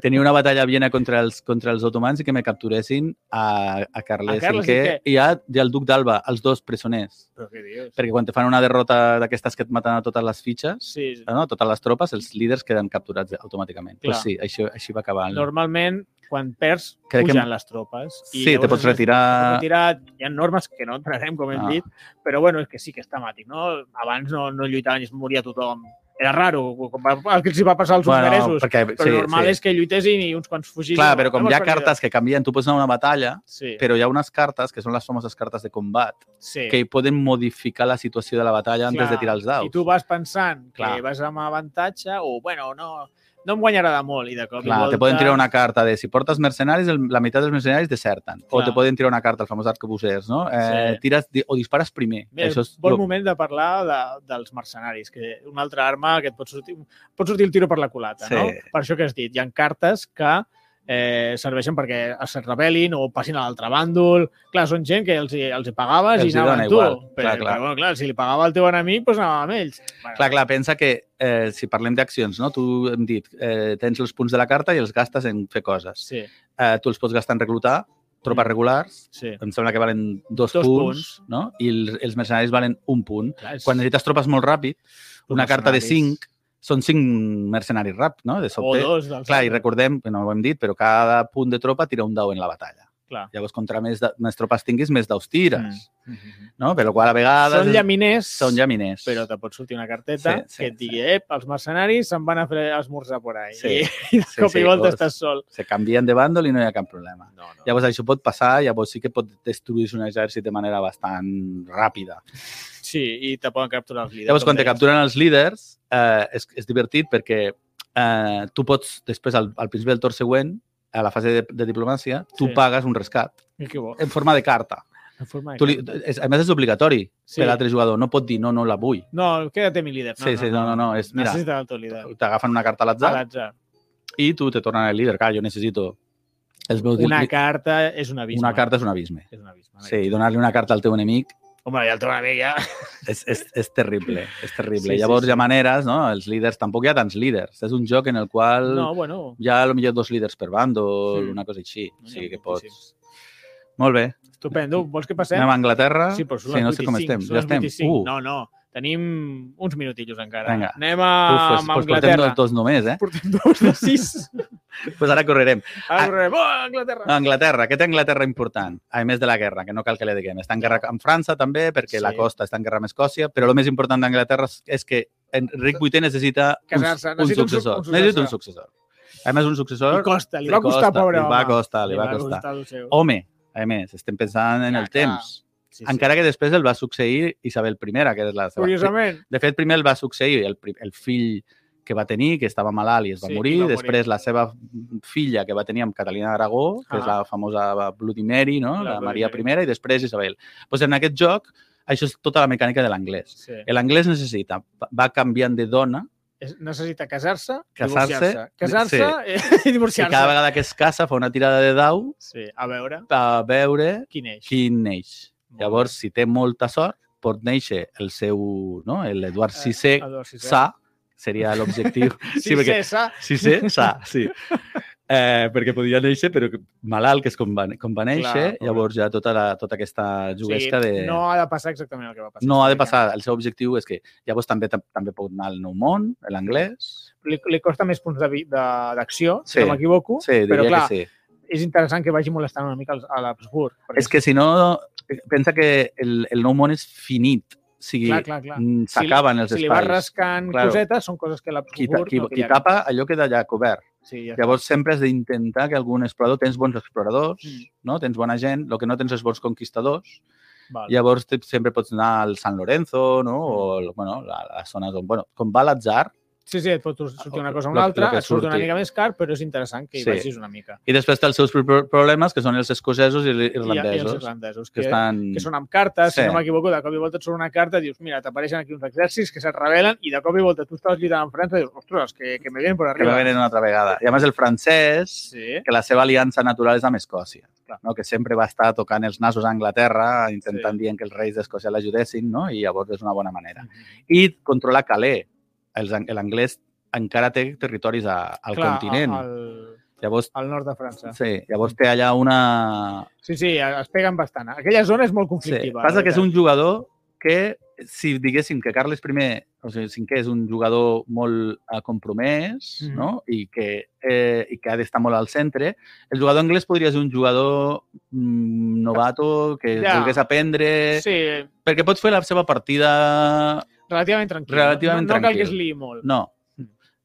tenir una batalla a Viena contra els, contra els otomans i que me capturessin a, a Carles,
A Carles
V
V.
i, a, i al duc d'Alba, els dos presoners.
Però què dius?
Perquè quan te fan una derrota d'aquestes que et maten a totes les fitxes, eh,
Sí,
no? totes les tropes, els líders queden capturats automàticament.
Clar.
Pues sí, així, així va acabar. El...
normalment quan perds,
Crec que-
pugen les tropes.
Sí, te pots
Pots
retirar...
retirar, hi ha normes que no entrarem, com hem
Ah.
dit, però bueno, és que sí que és temàtic, no? Abans no, no lluitaven i es moria tothom. Era raro, com va, el que els hi va passar als hongaresos.
perquè,
Però normal és que llutessin i uns quants fugissin.
Clar, però com
Hemos
hi ha
perdido.
cartes que canvien, tu pots anar a una batalla,
Sí,
però hi ha unes cartes, que són les famoses cartes de combat,
sí.
que poden modificar la situació de la batalla antes
Clar,
de tirar els daus.
I tu vas pensant que
Clar.
vas amb avantatge o, bueno, no, no em guanyarà de molt i de cop i
Clar,
volta...
te poden tirar una carta de si portes mercenaris, el, la meitat dels mercenaris deserten. O
Clar.
te poden tirar una carta, el famós arquebusers, no? Eh,
Sí.
tires di- o dispares primer.
Mira,
Això és
bon
lo-
moment de parlar de, dels mercenaris, que una altra arma que et pot sortir, pot sortir el tiro per la culata,
Sí.
no? Per això que has dit, hi ha cartes que eh, serveixen perquè es rebel·lin o passin a l'altre bàndol. Clar, són gent que els, hi- els hi pagaves
Els
i
hi
anaven
dona
amb tu.
igual.
Però, clar,
Clar, clar.
clar. Però, clar, si li pagava el teu enemic, doncs anava amb ells. Bueno,
Clar, clar, pensa que eh, si parlem d'accions, no? tu hem dit, eh, tens els punts de la carta i els gastes en fer coses.
Sí,
Eh, tu els pots gastar en reclutar, tropes
Mm.
regulars,
sí.
em sembla que valen dos,
Dos
punts,
punts.
no? i els, els mercenaris valen un punt.
Clar, és-
Quan necessites tropes molt ràpid, una carta de
mercenaris.
cinc, són cinc mercenaris rap, no?
O
De sobte.
dos. Dels
Clar, i recordem, que no ho hem dit, però cada punt de tropa tira un dau en la batalla.
Clar.
Llavors, contra més, de, més tropes tinguis, més daus tires, mm.
Mhm.
no? Per la qual a vegades...
Són llaminers.
Són llaminers.
però te pot sortir una carteta
Sí,
sí,
sí,
sí, que et digui, ep, els mercenaris se'n van a fer esmorzar por ahí.
Sí,
Sí, I de
sí,
cop
sí,
i volta
llavors-
estàs sol.
Se canvien de bàndol i no hi ha cap problema.
No, no.
Llavors, això pot passar, llavors sí que pot destruir un exèrcit de manera bastant ràpida.
Sí, i te poden capturar els líders.
Llavors, quan te
com deies.
capturen els líders, eh, és, és divertit perquè eh, tu pots, després, al, al principi del torn següent, a la fase de, de diplomàcia, tu
Sí.
pagues un rescat
Mira que bo,
en forma de carta.
en forma de
Tu li,
carta.
és, a més, és obligatori sí.
Sí.
per l'altre jugador. No pot dir, no, no la vull.
No, quédate mi líder. No,
Sí, sí, no, no, no, és- mira.
Necessita el teu líder.
T'agafen una carta a
A
l'atzar
l'atzar.
i tu te tornen el líder. Clar, jo necessito... Els meus
Una
li-
carta és un abisme.
una carta és un abisme.
És un abisme.
Sí, i donar-li una carta al teu enemic
Home, i el teu amic ja...
és, és, és terrible, és terrible.
Sí,
Sí,
sí,
Llavors
sí.
hi ha maneres, no? Els líders, tampoc hi ha tants líders. És un joc en el qual
No, bueno,
hi ha potser dos líders per bàndol,
Sí.
una cosa així.
No
O
n'hi ha
sigui que
moltíssims.
pots... Molt bé,
estupendo. Vols que passem?
anem a Anglaterra.
Sí, però són
sí,
les
no sé com
25,
estem.
són
Ja
les
estem.
25.
Uh,
No, no, tenim uns minutillos encara.
Vinga.
Anem a,
uf, doncs, pues,
amb
pues portem
Anglaterra.
dos, dos només, eh?
*laughs* Portem dos de sis.
Pues ara correrem.
Ara correm. Oh, Anglaterra!
Ah, Anglaterra, què té Anglaterra important? A més de la guerra, que no cal que li diguem. Està en guerra amb França també, perquè
Sí.
la costa està en guerra amb Escòcia, però el més important d'Anglaterra és- és que Enric VIII necessita un,
Casar-se,
un
necessita un su-
successor.
un successor.
necessita un successor. A més, un
Li
successor...
costa, li, va costar, pobre
Li va
home.
costar, li, va, costar.
el seu.
Home, a més, estem pensant en
Clar, clar.
el temps.
sí, sí.
Encara que després el va succeir Isabel I, que és la seva...
Curiosament,
De fet, primer el va succeir el, pri- el fill que va tenir, que estava malalt i es va
Sí,
morir.
i va morir.
després la seva filla que va tenir amb Catalina d'Aragó, que
Ah.
és la famosa Bloody Mary, no?
La
la,
Bloody
Maria
Mary.
I, i després Isabel. Pues en aquest joc, això és tota la mecànica de l'anglès.
sí.
L'anglès necessita, va canviant de dona,
Es- necessita casar-se,
Casar-se,
divorciar-se. Casar-se i
que
divorciar-se.
cada vegada que es casa fa una tirada de dau
Sí, a veure
a veure
quin és.
quin neix.
Molt
Llavors, si té molta sort, pot néixer el seu, no? l'Eduard
Eh,
VI,
bé. Ador, sí, sí.
sa, seria
*laughs*
l'objectiu.
Sí,
sí, perquè-
sí, sa.
Sí, sí, sa, sí. Eh, perquè podia néixer, però que- malalt, que és com va, com va néixer,
Clar,
Clar,
pobre.
llavors ja tota, la, tota aquesta
O sigui,
juguesca sí, de...
No ha de passar exactament el que va passar.
no ha de
Perquè
passar. El seu objectiu és que llavors també tam- també pot anar al nou món, a l'anglès.
Li, li costa més punts de vi- de- d'acció,
Sí.
si no m'equivoco,
Sí,
però
diria
clar,
que sí.
és interessant que vagi molestant una mica als- a l'Habsburg. perquè
És que si no, pensa que el, el nou món és finit. O sigui,
Clar, clar, clar.
mm, s'acaben els
si li vas
espais.
rascant
Claro.
cosetes, són coses que l'Habsburg...
qui, ta- qui,
no
qui
queria-
tapa allò queda allà cobert.
Sí, ja
Llavors sempre has d'intentar que algun explorador, tens bons exploradors,
Mm.
no? tens bona gent, el que no tens és bons conquistadors,
Val.
llavors te, sempre pots anar al San Lorenzo, no? o el- bueno, la, la zona on, bueno, com va l'atzar,
Sí, sí, et pot sortir una cosa o
Lo-
una
lo
altra,
que
et surt una
surti.
mica més car, però és interessant que hi
Sí.
vagis una mica.
i després té els seus pro- pro- problemes, que són els escocesos i els
I, I els
irlandesos,
irlandesos,
que
que,
estan...
que són amb cartes,
Sí.
si no m'equivoco, de cop i volta et surt una carta i dius, mira, t'apareixen aquí uns exèrcits que se't revelen i de cop i volta tu estaves lluitant amb França i dius, ostres, que, que me vienen por
que
arriba.
va venir una altra vegada. I a més el francès,
Sí,
que la seva aliança natural és amb Escòcia,
Clar.
no? que sempre va estar tocant els nassos a Anglaterra, intentant sí. dir que els reis d'Escòcia l'ajudessin, no? i llavors és una bona manera. I controlar Calais. Els ang- L'anglès encara té territoris a, al
clar,
continent.
Al,
Llavors,
al nord de França.
sí, llavors té allà una...
Sí, sí, es peguen bastant. Aquella zona és molt
Sí.
conflictiva.
Passa que és un jugador que si diguéssim que Carles I, o sigui, cinquè és un jugador molt eh, compromès
Mhm.
no? I, que, eh, i que ha d'estar molt al centre, el jugador anglès podria ser un jugador mm, novato que
Ja.
ja. volgués aprendre... Sí.
Sí,
Perquè pot fer la seva partida...
relativament tranquil. no,
Relativament
no cal
tranquil.
que es liï molt.
No.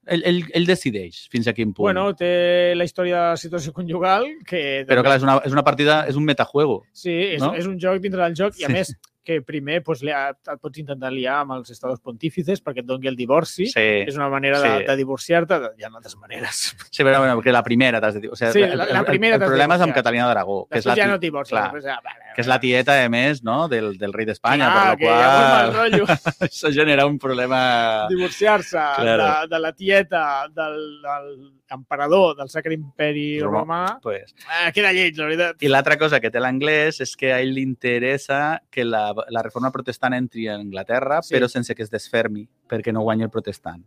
Ell, ell, ell decideix fins a quin punt.
Mm. Bueno, té la història de la situació conjugal, que
Però
també-
clar, és una, és una partida, és un metajuego.
sí, és,
no?
és un joc dintre del joc, i a
Sí.
més que primer pues, li ha- et pots intentar liar amb els estados pontífices perquè et doni el divorci.
sí.
És una manera de,
Sí.
de divorciar-te, de- hi ha altres maneres.
Sí, però bueno, perquè la primera t'has de dir. O sigui,
Sí, la- la primera
el,
t'has
el
de
problema és amb
divorciar.
Catalina d'Aragó, que, és
Després
la
ja no
ti-
et divorcies.
clar,
després, ah, vale, Ah,
que és la tieta, a més, no? del, del rei d'Espanya, per la
que hi ha molt mal
qual
rotllo.
*laughs* això genera un problema...
divorciar-se
Claro.
de, de la tieta del, del emperador del Sacre Imperi
Romà.
Romà,
Pues.
eh, queda lleig, la veritat.
I l'altra cosa que té l'anglès és que a ell li interessa que la, la reforma protestant entri a Anglaterra,
Sí.
sí. però sense que es desfermi, perquè no guanya el protestant.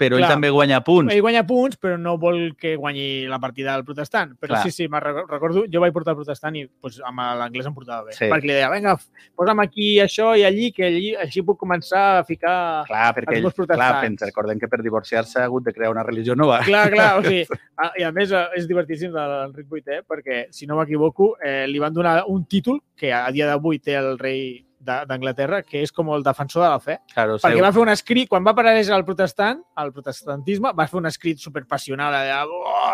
Però Clar.
Clar.
ell també guanya punts.
Ell guanya punts, però no vol que guanyi la partida del protestant. Però
Clar.
sí, sí, me'n reco- recordo, jo vaig portar el protestant i pues, amb l'anglès em portava bé.
Sí.
Perquè li deia, vinga, posa'm aquí això i allí, que allí, així puc començar a ficar...
Clar, perquè
Els
ell,
dos
clar,
protestants.
pensa, recordem que per divorciar-se ha hagut de crear una religió nova. *laughs*
Clar, clar, o sigui, a- i a més eh, és divertíssim de l'Enric VIII, eh, perquè, si no m'equivoco, eh, li van donar un títol que a dia d'avui té el rei de- d'Anglaterra, que és com el defensor de la fe.
Claro,
Perquè va fer un escrit, quan va aparèixer el protestant, el protestantisme, va fer un escrit superpassional allà,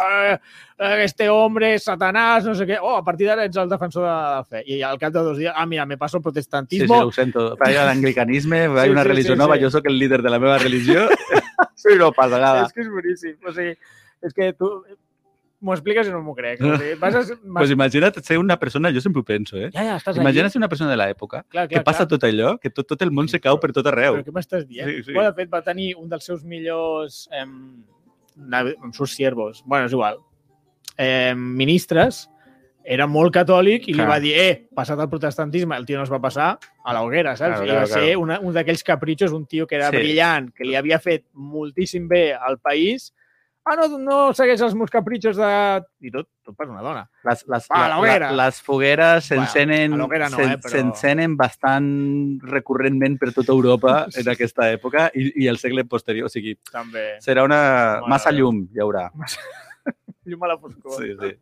oh, este hombre és satanàs, no sé què, oh, a partir d'ara ets el defensor de la fe. I al cap de dos dies, ah, mira, me passo el
Sí, sí, ho
protestantisme.
sento. Vaig a l'anglicanisme, vaig
Sí,
a una
sí,
religió
sí,
nova,
sí.
jo sóc el líder de la
*laughs*
meva religió. *laughs* sí, no passa nada.
és que és boníssim. O sigui, és que tu m'ho expliques i no m'ho crec. O sigui, vas a...
Pues imagina't ser una persona, jo sempre ho penso, eh?
Ja, ja, estàs
Imagina't ser una persona de l'època,
Clar,
que passa tot allò, que tot, tot el món se cau per tot arreu.
Però què m'estàs dient?
Sí,
Sí,
sí.
sí. Bueno, de fet, va tenir un dels seus millors em, nav- em sus siervos, bueno, és igual, em, ministres, era molt catòlic i li
Clar.
va dir, eh, passat el protestantisme, el tio no es va passar a la hoguera, saps?
Claro,
Claro, I
claro,
va ser
claro.
una, un d'aquells capritxos, un tio que era
Sí.
sí. brillant, que li havia fet moltíssim bé al país, ah, no, no segueix els meus capritxos de... I tot, tot per una dona.
Les, les,
Va, a la hoguera.
les fogueres
Bueno,
s'encenen
a la hoguera no,
s'en-
eh, però-
s'encenen bastant recurrentment per tota Europa.
*laughs*
Europa en aquesta època i, i el segle posterior. O sigui,
També.
Serà una...
Mare
massa
de Déu.
llum, hi haurà.
Llum a la foscor.
sí, sí.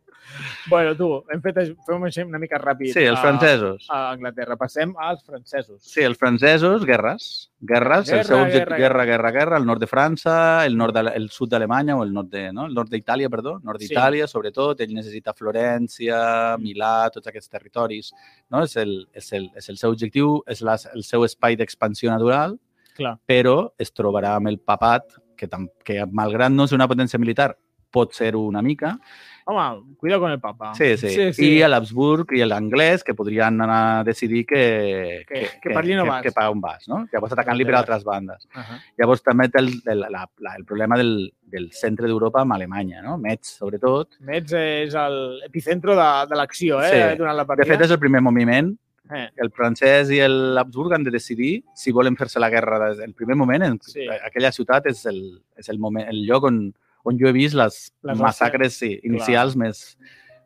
Bueno, tu, hem fet, fem un així una mica ràpid.
Sí, els
a-
francesos.
a Anglaterra. Passem als francesos.
Sí, els francesos, guerres. Guerres,
Guerra,
el seu objectiu,
guerra,
guerra, guerra, guerra, el nord de França, el, nord de, el sud d'Alemanya o el nord de, no? el nord d'Itàlia, perdó, nord
Sí.
d'Itàlia, sobretot, ell necessita Florència, Milà, tots aquests territoris, no? És el, és el, és el seu objectiu, és la, el seu espai d'expansió natural,
Clar.
però es trobarà amb el papat, que, tam, que malgrat no ser una potència militar, pot ser una mica.
Home, cuidado con el papa.
Sí, sí.
Ah. Sí, sí.
sí, sí. I a l'Habsburg i a l'anglès, que podrien anar a decidir que...
Que- que per allí no
que,
vas.
Que, per on vas, no? Llavors atacant-li per
Endavant.
altres bandes.
Uh -huh.
Llavors també té el, el, la, la, el problema del, del centre d'Europa amb Alemanya, no? Metz, sobretot.
Metz és l'epicentro de, de l'acció, eh?
Sí.
Durant la
De
partida.
fet, és el primer moviment.
Eh.
El francès i l'Habsburg han de decidir si volen fer-se la guerra. des- El primer moment, en,
Sí.
sí. aquella ciutat és el, és el, moment, el lloc on, on jo he vist les,
Les
les massacres sí, inicials més,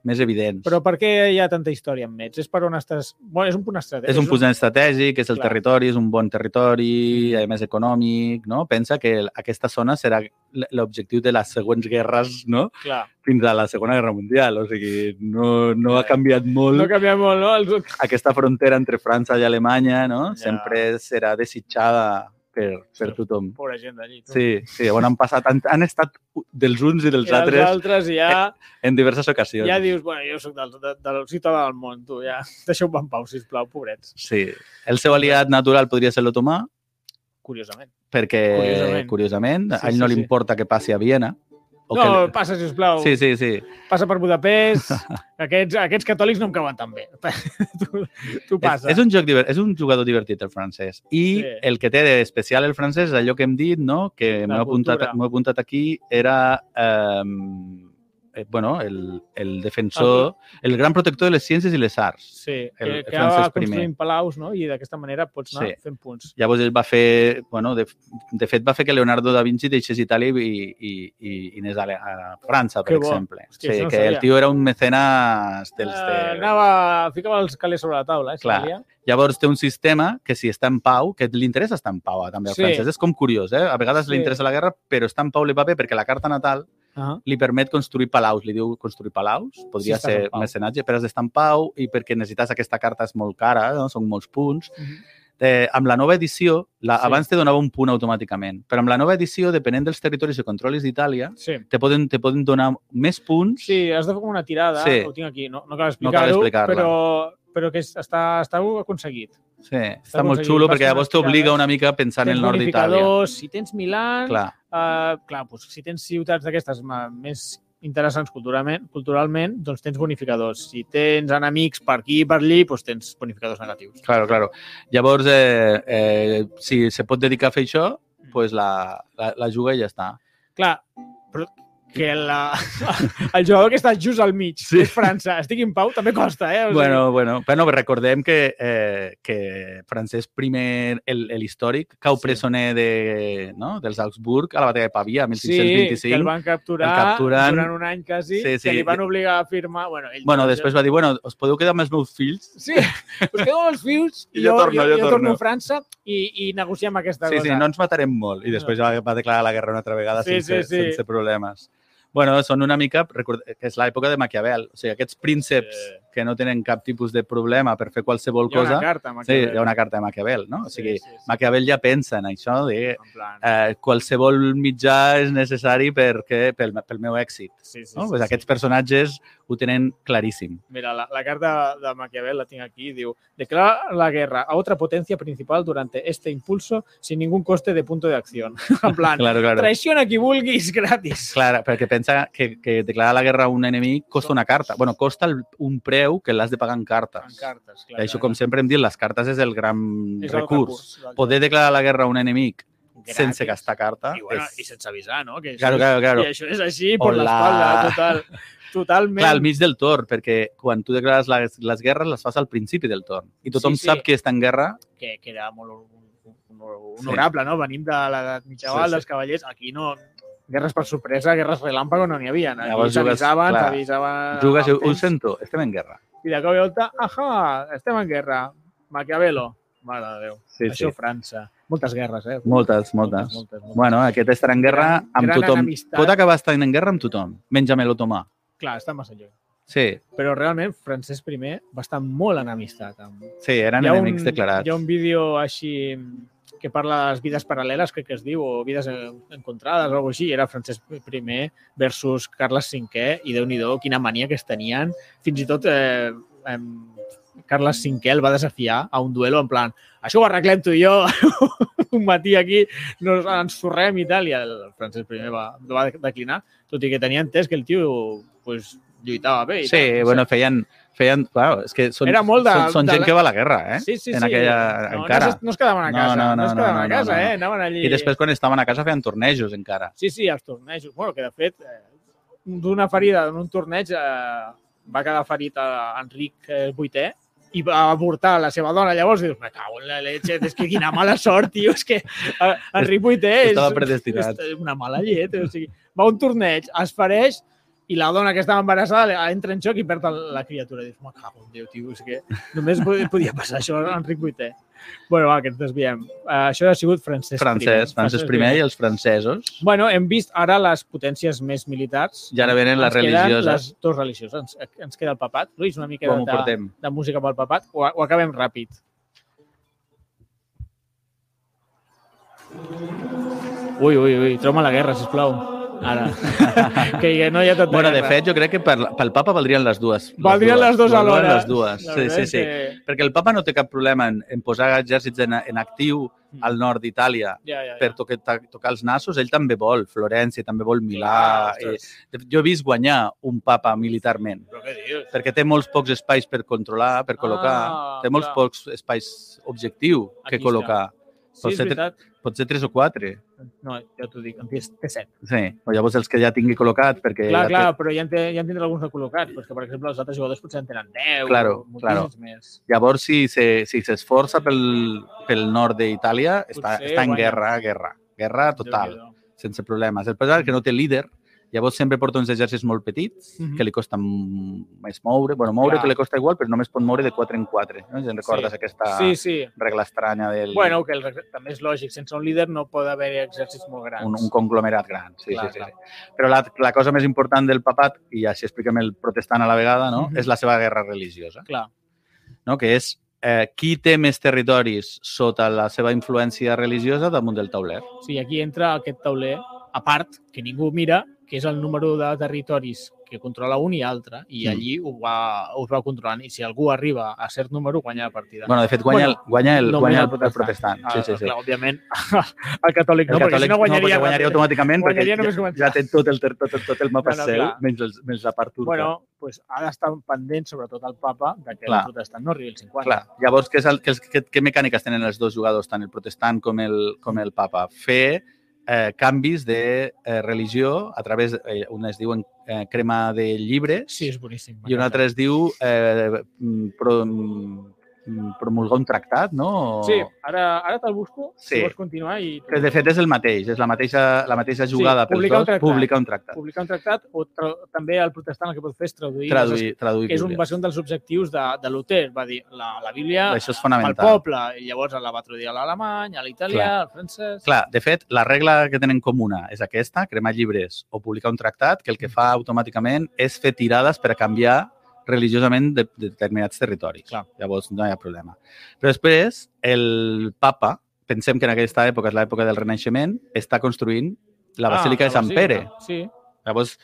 més evidents.
Però per què hi ha tanta història amb Metz? És per on estàs... Bueno, és un punt estratègic.
És un punt estratègic, és el
Clar. Mm.
territori, és un bon territori, a més econòmic, no? Pensa que l- aquesta zona serà l- l'objectiu de les següents guerres, no?
Clar.
Fins a la Segona Guerra Mundial, o sigui, no, no ha canviat
No
molt
canvia molt, no? Els...
aquesta frontera entre França i Alemanya, no?
Ja.
Sempre serà desitjada per, per
Sí.
tothom.
Pobra gent d'allí. tu.
Sí, sí, on han passat, han, han estat dels uns i
I
dels
els altres,
altres Eh,
altres ja,
en diverses ocasions.
ja dius, bueno, jo soc del, de, del ciutadà del món, tu, ja. *laughs* Deixeu-me en pau, sisplau, pobrets,
Sí. El seu aliat natural podria ser l'otomà,
curiosament.
perquè,
Curiosament.
curiosament, curiosament sí, a ell no
sí,
li
sí.
importa que passi a Viena. O
no,
que...
passa, sisplau,
Sí, sí, sí.
passa per
*laughs*
Budapest, aquests, aquests catòlics no em cauen tan bé. *laughs* tu, tu
És,
passa.
és, un joc diver... és un jugador divertit, el francès. I
Sí.
sí. el que té d'especial el francès és allò que hem dit, no? que
La
m'ho he, apuntat,
cultura.
m'ho he apuntat aquí, era eh, eh, bueno, el, el defensor, el gran protector de les ciències i les arts.
Sí, que,
El
que
Francesc
va
primer.
construint palaus, no? I d'aquesta manera pots anar
Sí.
fent punts.
Llavors ell va fer, bueno, de, de fet va fer que Leonardo da Vinci deixés Itàlia i, i, i, i anés a, Ale- a França, per
Que bo.
exemple.
Hòstia,
Hòstia,
això
sí,
no
que el
sabia.
tio era un mecenas dels de...
Eh, anava, ficava els calés sobre la taula, eh, si
Clar.
calia.
Llavors té un sistema que si està en pau, que li interessa estar en pau eh, també
Sí.
al sí. francès. És com curiós, eh? A vegades
Sí.
li interessa la guerra, però està en pau li va bé perquè la carta natal
Ah,
li permet construir palaus. Li diu construir palaus, podria
estàs
ser
en pau.
mecenatge, però has d'estar en pau i perquè necessites aquesta carta és molt cara, no? són molts punts. Eh, amb la nova edició, la,
Sí.
sí. abans te donava un punt automàticament, però amb la nova edició, depenent dels territoris que controlis d'Itàlia,
sí.
te poden, te poden donar més punts.
Sí, has de fer com una tirada,
Sí.
ho tinc aquí, no, no cal
No cal
explicar-ho,
explicar-la.
però, però que és- està, està aconseguit.
sí està molt
aconseguint
xulo
bastant
perquè llavors t'obliga
tirades.
una mica a pensar en
Tens
el nord d'Itàlia.
bonificadors, Si tens Milán,
Clar.
Uh, clar, doncs, si tens ciutats d'aquestes ma- més interessants culturalment, culturalment, doncs tens bonificadors. Si tens enemics per aquí i per allí, doncs tens bonificadors negatius.
Claro, claro. Llavors, eh, eh, si se pot dedicar a fer això,
Mm.
pues la, la, la juga i ja està.
Clar, però que la... *laughs* el jugador que està just al mig, sí. és França, estigui en pau, també costa, eh? O sigui,
Bueno, bueno, però no, recordem que, eh, que Francesc I, el, el històric, cau
Sí.
sí. presoner de, no? dels Augsburg a la batalla de Pavia,
Sí, que el
1525.
van capturar
el capturen.
durant un any quasi,
Sí, sí.
que li van obligar a firmar... Bueno, ell
Bueno, després va dir, bueno, us podeu quedar amb els meus fills?
Sí, us quedo amb els vius
*laughs*
i jo, jo, torno, jo, jo, torno, a França i, i negociem aquesta
Sí,
cosa.
sí, no ens matarem molt. I després va, va declarar la guerra una altra vegada
Sí,
sí, sense,
sí, sí.
sense problemes. Bueno, són una mica, record, eh, que és l'època de Maquiavel, o sigui, aquests prínceps
Sí.
que no tenen cap tipus de problema per fer qualsevol
Hi ha una
cosa,
carta,
Sí,
Maquiavel.
hi ha una carta de Maquiavel, no? O sigui,
Sí, sí, sí.
Maquiavel ja pensa en això de
En plan,
eh, qualsevol mitjà és necessari perquè, pel, pel meu èxit.
sí, sí,
No?
sí,
pues
sí.
aquests personatges ho tenen claríssim.
Mira, la, la carta de Maquiavel la tengo aquí, digo, declara la guerra a otra potencia principal durante este impulso sin ningún coste de punto de acción. *laughs* en plan,
Claro, claro.
traición a qui vulguis gratis.
Clar, perquè pensa que, que declarar la guerra a un enemic costa una carta. bueno, costa el, un preu que l'has de pagar en
En
cartes.
cartes, clar.
I això, com sempre hem dit, les cartes és el gran
És el
recurs. Poder declarar la guerra a un enemic
Gratis.
sense gastar carta
I, bueno, i
és...
sense avisar, no? Que això
Claro,
és-
claro, claro.
I això és així, per
Hola.
l'espalda,
*laughs*
total. Totalment.
Clar, al mig del torn, perquè quan tu declares les, les guerres les fas al principi del torn. I tothom
Sí,
sí,
sí.
sí. sap que està en guerra
que, que era molt hon- hon- honorable, no? Venim de l'edat mitjana
Sí, sí.
dels cavallers, aquí no... Guerres per sorpresa, guerres relàmpago no n'hi havia. Aquí
Llavors jugues-
t'avisaven,
clar,
t'avisaven...
Jugues,
amb
ho, ho
Ah, temps.
sento, estem en guerra.
I de cop i volta, ahà, estem en guerra. Maquiavelo. Mare de Déu.
Sí,
Això França. Moltes guerres, eh?
Moltes, moltes.
moltes, moltes.
Bueno, aquest estarà en guerra
Gran-
amb
gran
tothom.
enemistat.
Pot acabar estant en guerra amb tothom, menys amb l'otomà.
Clar, està massa lluny.
Sí,
Però realment, Francesc I va estar molt enemistat. Amb...
sí, eren
Hi ha un-
enemics declarats.
Hi ha un vídeo així que parla de les vides paral·leles, crec que es diu, o vides eh, encontrades o alguna així, i era Francesc I versus Carles V, i déu nhi quina mania que es tenien. Fins i tot eh, em, Carles V el va desafiar a un duelo en plan, això ho arreglem tu i jo, *laughs* un matí aquí, no ens sorrem i tal, i el Francesc I va, va declinar, tot i que tenia entès que el tio pues, lluitava bé. i
Sí,
tal.
bueno, feien... feien clar, és que són,
Era molt de-
són, són
de
gent
la-
que va a la guerra, eh?
Sí, sí,
en
sí.
aquella-
no,
encara.
No, es, no es quedaven a
No,
casa, no, no,
no, no,
es quedaven
no,
a
no,
casa,
no, no.
eh? Anaven allí...
I després, quan estaven a casa, feien tornejos encara.
Sí, sí, els tornejos. Bueno, que de fet, eh, d'una ferida en un torneig eh, va quedar ferit a Enric eh, VIII i va avortar la seva dona. Llavors dius, me cago en la leche, és que quina mala sort, tio, és que eh, Enric VIII és...
Estava predestinat.
És una mala llet, o sigui, va a un torneig, es fareix i la dona que estava embarassada entra en xoc i perd la criatura. Dius, me cago en Déu, tio, és que només po- podia passar això a Enric VIII. Bueno, va, que ens desviem. Uh, això ha sigut Francesc I.
Francès, Francesc primer i els francesos.
Bueno, hem vist ara les potències més militars.
I ara venen les
Ens queden
religioses.
Les dos religioses. Ens, ens queda el papat. Lluís, una mica
Com ho
de,
portem?
de música pel papat. O, o acabem ràpid. Ui, ui, ui. Troma la guerra, sisplau. Ara.
*laughs*
que ja no hi ha tanta
Bueno, de
guerra.
fet, jo crec que per, pel papa valdrien les dues.
Valdrien les dues
Valdrien
alhora.
Les dues,
La
sí,
veritat
sí,
és
sí.
que-
Perquè el papa no té cap problema en, en posar exèrcits en, en actiu
Mm.
al nord d'Itàlia
Ja, ja, ja.
per toque, ta, tocar els nassos. Ell també vol Florència, també vol Milà.
Ostres,
Eh, de- jo he vist guanyar un papa militarment,
Però què dius?
perquè té molts pocs espais per controlar, per col·locar.
Ah,
té molts
clar.
pocs espais objectiu
Aquí
que
està.
col·locar.
Sí, és
ser-
veritat.
Potser tres o quatre.
No, ja t'ho dic, en té té set.
Sí. O llavors els que ja tingui col·locat, perquè...
Clar,
ja
clar, però ja en, té, ja en tindrà alguns recol·locats, però és que, per exemple, els altres jugadors potser en tenen 10
Claro,
o moltíssims
claro.
més.
Llavors, si se- si s'esforça pel, pel nord d'Itàlia, està,
Potser
està en
guanya.
guerra, guerra. Guerra total,
Déu-n'hi-do.
sense problemes. El problema és que no té líder, llavors sempre porta uns exèrcits molt petits,
Mhm.
que li costa m- més moure. bueno, moure
Clar.
que li costa igual, però només pot moure de 4 en 4. No? Ja en recordes
Sí.
aquesta
Sí, sí.
regla estranya del
Bueno, que el, reg- també és lògic, sense un líder no pot haver exèrcits molt grans.
un, un conglomerat gran. Sí,
Clar,
sí, sí,
clar.
sí. Però la, la cosa més important del papat, i així expliquem el protestant a la vegada, no?
Mhm.
és la seva guerra religiosa.
Clar,
no? que és eh, qui té més territoris sota la seva influència religiosa damunt del tauler.
o sigui, aquí entra aquest tauler a part, que ningú mira, que és el número de territoris que controla un i altre, i
Mm.
allí ho va, ho va controlant, i si algú arriba a cert número, guanya la partida.
bueno, de fet, guanya,
Bueno,
el, guanya, el,
no
guanya el,
guanya el Ah,
el protestant. Sí, sí, sí.
Clar, òbviament, *laughs* el catòlic
El
no, perquè si
catòlic
no guanyaria...
no, guanyaria automàticament
guanyaria
perquè
només
ja,
començar.
ja té tot el, ter- tot, el- tot el mapa
No, no,
seu,
clar.
menys, els, menys la part turca.
Bueno, pues ha d'estar pendent, sobretot el papa, de que
Clar.
el protestant no arribi al 50.
Clar, llavors, què, és el, què, és- què, què mecàniques tenen els dos jugadors, tant el protestant com el, com el papa? Fer eh, canvis de eh, religió a través, eh, una es diuen eh, crema de llibres
Sí, és boníssim.
i una altra es diu eh, mm, pro, mm, promulgar un tractat, no?
Sí, ara, ara te'l busco,
Sí.
si vols continuar i...
Que de fet és el mateix, és la mateixa, la mateixa jugada pels
publicar un
dos,
tractat.
publicar un tractat.
publicar un tractat o tra també el protestant el que pot fer és traduir, les
Traduir, traduir
que és un,
Bíblia.
va ser un dels objectius de, de Luther, va dir la, la Bíblia
Això és
pel
fonamental.
poble, i llavors la va traduir a l'alemany, a l'italià,
Clar.
al francès...
Clar, de fet, la regla que tenen comuna és aquesta, cremar llibres o publicar un tractat, que el que fa automàticament és fer tirades per a canviar religiosament de, de determinats territoris.
Clar.
Llavors, no hi ha problema. Però després, el papa, pensem que en aquesta època, és l'època del Renaixement, està construint la Basílica ah, de Sant Pere.
Sí,
Llavors,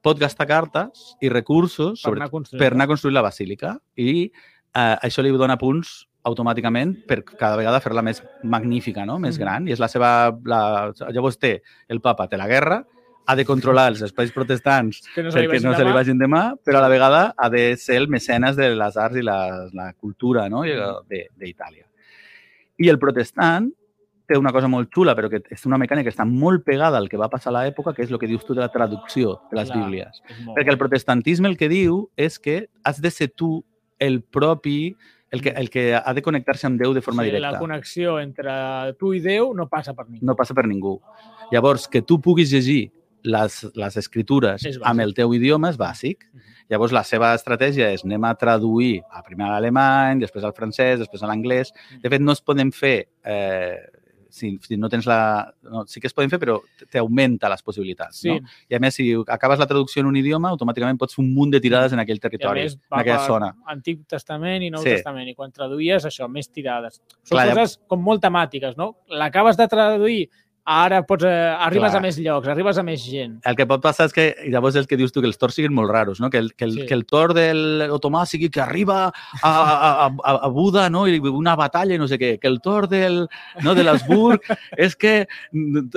pot gastar cartes i recursos,
per
sobretot
anar construint.
per anar a construir la basílica i eh, això li dona punts automàticament per cada vegada fer-la més magnífica, no? més
Mhm.
gran. I és la seva... La... Llavors té el papa, té la guerra, ha de controlar els espais protestants
que no se li
perquè
vagi
no se li
demà.
vagin demà, però a la vegada ha de ser el mecenes de les arts i la, la cultura no? I la- de- d'Itàlia. I el protestant té una cosa molt xula, però que és una mecànica que està molt pegada al que va passar a l'època, que és el que dius tu de la traducció de les
Clar.
Bíblies.
És molt
Perquè el protestantisme el que diu és que has de ser tu el propi, el que, el que ha de connectar-se amb Déu de forma
sí, La
directa.
connexió entre tu i Déu no passa per ningú.
No passa per ningú. Llavors, que tu puguis llegir les, les escritures
És bàsic.
amb el teu idioma és bàsic.
Mhm.
Llavors, la seva estratègia és anem a traduir a primer a l'alemany, després al francès, després a l'anglès. De fet, no es poden fer... Eh, si, si no tens la... No, sí que es poden fer, però t'augmenta les possibilitats.
sí,
No? I a més, si acabes la traducció en un idioma, automàticament pots fer un munt de tirades en aquell
I a
territori,
més,
en
va
aquella
per
zona.
Antic Testament i Nou
Sí.
sí. Testament. I quan traduïes, això, més tirades. Són
Clar,
Clar,
ja-
coses com molt temàtiques, no? L'acabes de traduir, ara pots, eh, arribes
Clar.
Clar. a més llocs, arribes a més gent.
El que pot passar és que i llavors el que dius tu, que els tors siguin molt raros, no? que, el, que, el,
Sí.
que el tor del otomà sigui que arriba a, a, a, a Buda no? i una batalla i no sé què, que el tor del, no,
*laughs*
de l'Asburg és que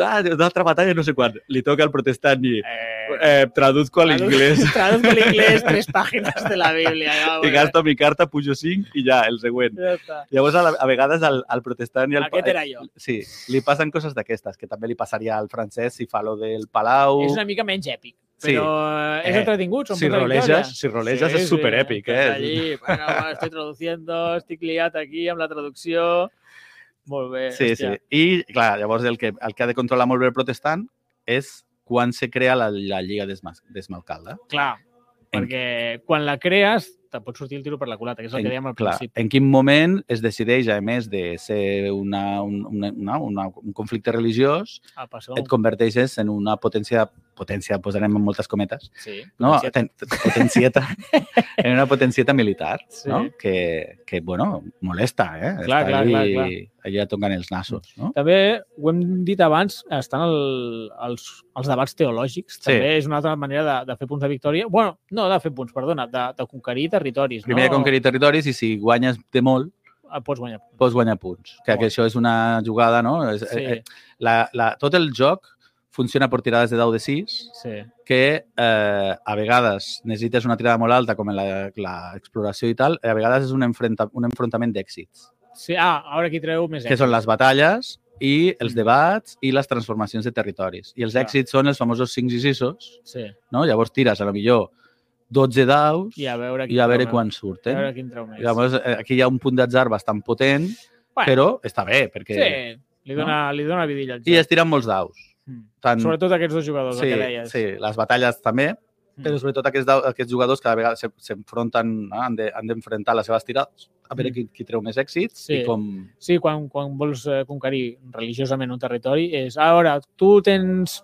ah, d'altra batalla no sé quan, li toca al protestant i
Eh,
Eh, traduzco al
*laughs*
inglés
Traduzco l'inglès tres pàgines de la Bíblia. Ja,
i gasto mi carta, pujo 5 i ja, el següent.
Ja està.
Llavors, a, la, a vegades, al, al protestant i al...
Aquest era jo.
sí, li passen coses d'aquestes, que també li passaria al francès si fa lo del Palau...
És una mica menys èpic.
Sí.
Però sí. és
Eh,
entretingut, són
Si
punts de
roleges,
victòria.
si roleges és superèpic,
estàs
eh?
Allí, bueno, bueno, estoy traduciendo, estic liat aquí amb la traducció. Molt bé.
Sí, sí. I, clar, llavors el que, el que ha de controlar molt bé el protestant és quan se crea la, la Lliga d'Esma- d'Esmalcalda.
Clar,
En-
perquè quan la crees te pot sortir el tiro per la culata, que és el que dèiem al
clar,
principi.
en quin moment es decideix, a més de ser una, un, una, una, una, un conflicte religiós,
A passar
et converteixes en una potència, potència, posarem en moltes cometes,
Sí,
no?
potser-
Ten- potencieta,
*laughs*
en una potencieta militar,
Sí.
no? que, que, bueno, molesta, eh?
Clar, clar,
allí,
clar, clar.
allà tocant els nassos, no?
També ho hem dit abans, estan el, els, els debats teològics.
Sí.
També és una altra manera de, de fer punts de victòria. bueno, no de fer punts, perdona, de, de conquerir territoris.
Primer
no?
de conquerir territoris i si guanyes de molt,
Eh, Pots guanyar.
pots guanyar punts. Que,
Molt.
que això és una jugada, no? És,
Sí,
eh, eh, la, la, tot el joc funciona per tirades de 10 de 6,
sí.
que eh, a vegades necessites una tirada molt alta, com en la- la exploració i tal, i a vegades és un, enfrenta, un enfrontament d'èxits,
sí. Ah, ara aquí treu més
que
èxit.
són les batalles i els debats i les transformacions de territoris. I els
Clar.
èxits són els famosos 5 i 6,
Sí.
no? Llavors tires, a lo millor, 12 daus
I a veure
i a veure
treu
quan
més. A
surten.
veure quin treu més.
Llavors, eh, aquí hi ha un punt d'atzar bastant potent,
Bueno.
però està bé, perquè...
Sí, li dona, li dona vidilla al joc.
I es tiren molts daus.
Mm.
Tant,
Sobretot aquests dos jugadors,
sí,
el que deies.
sí, les batalles també,
Mm.
però sobretot aquests, dau- aquests jugadors cada vegada se- s'enfronten, no? han de- han d'enfrontar les seves tirades, a veure
Mm.
qui, qui treu més èxits
Sí.
i com...
Sí, quan, quan vols eh, conquerir religiosament un territori és, "Ah, a veure, tu tens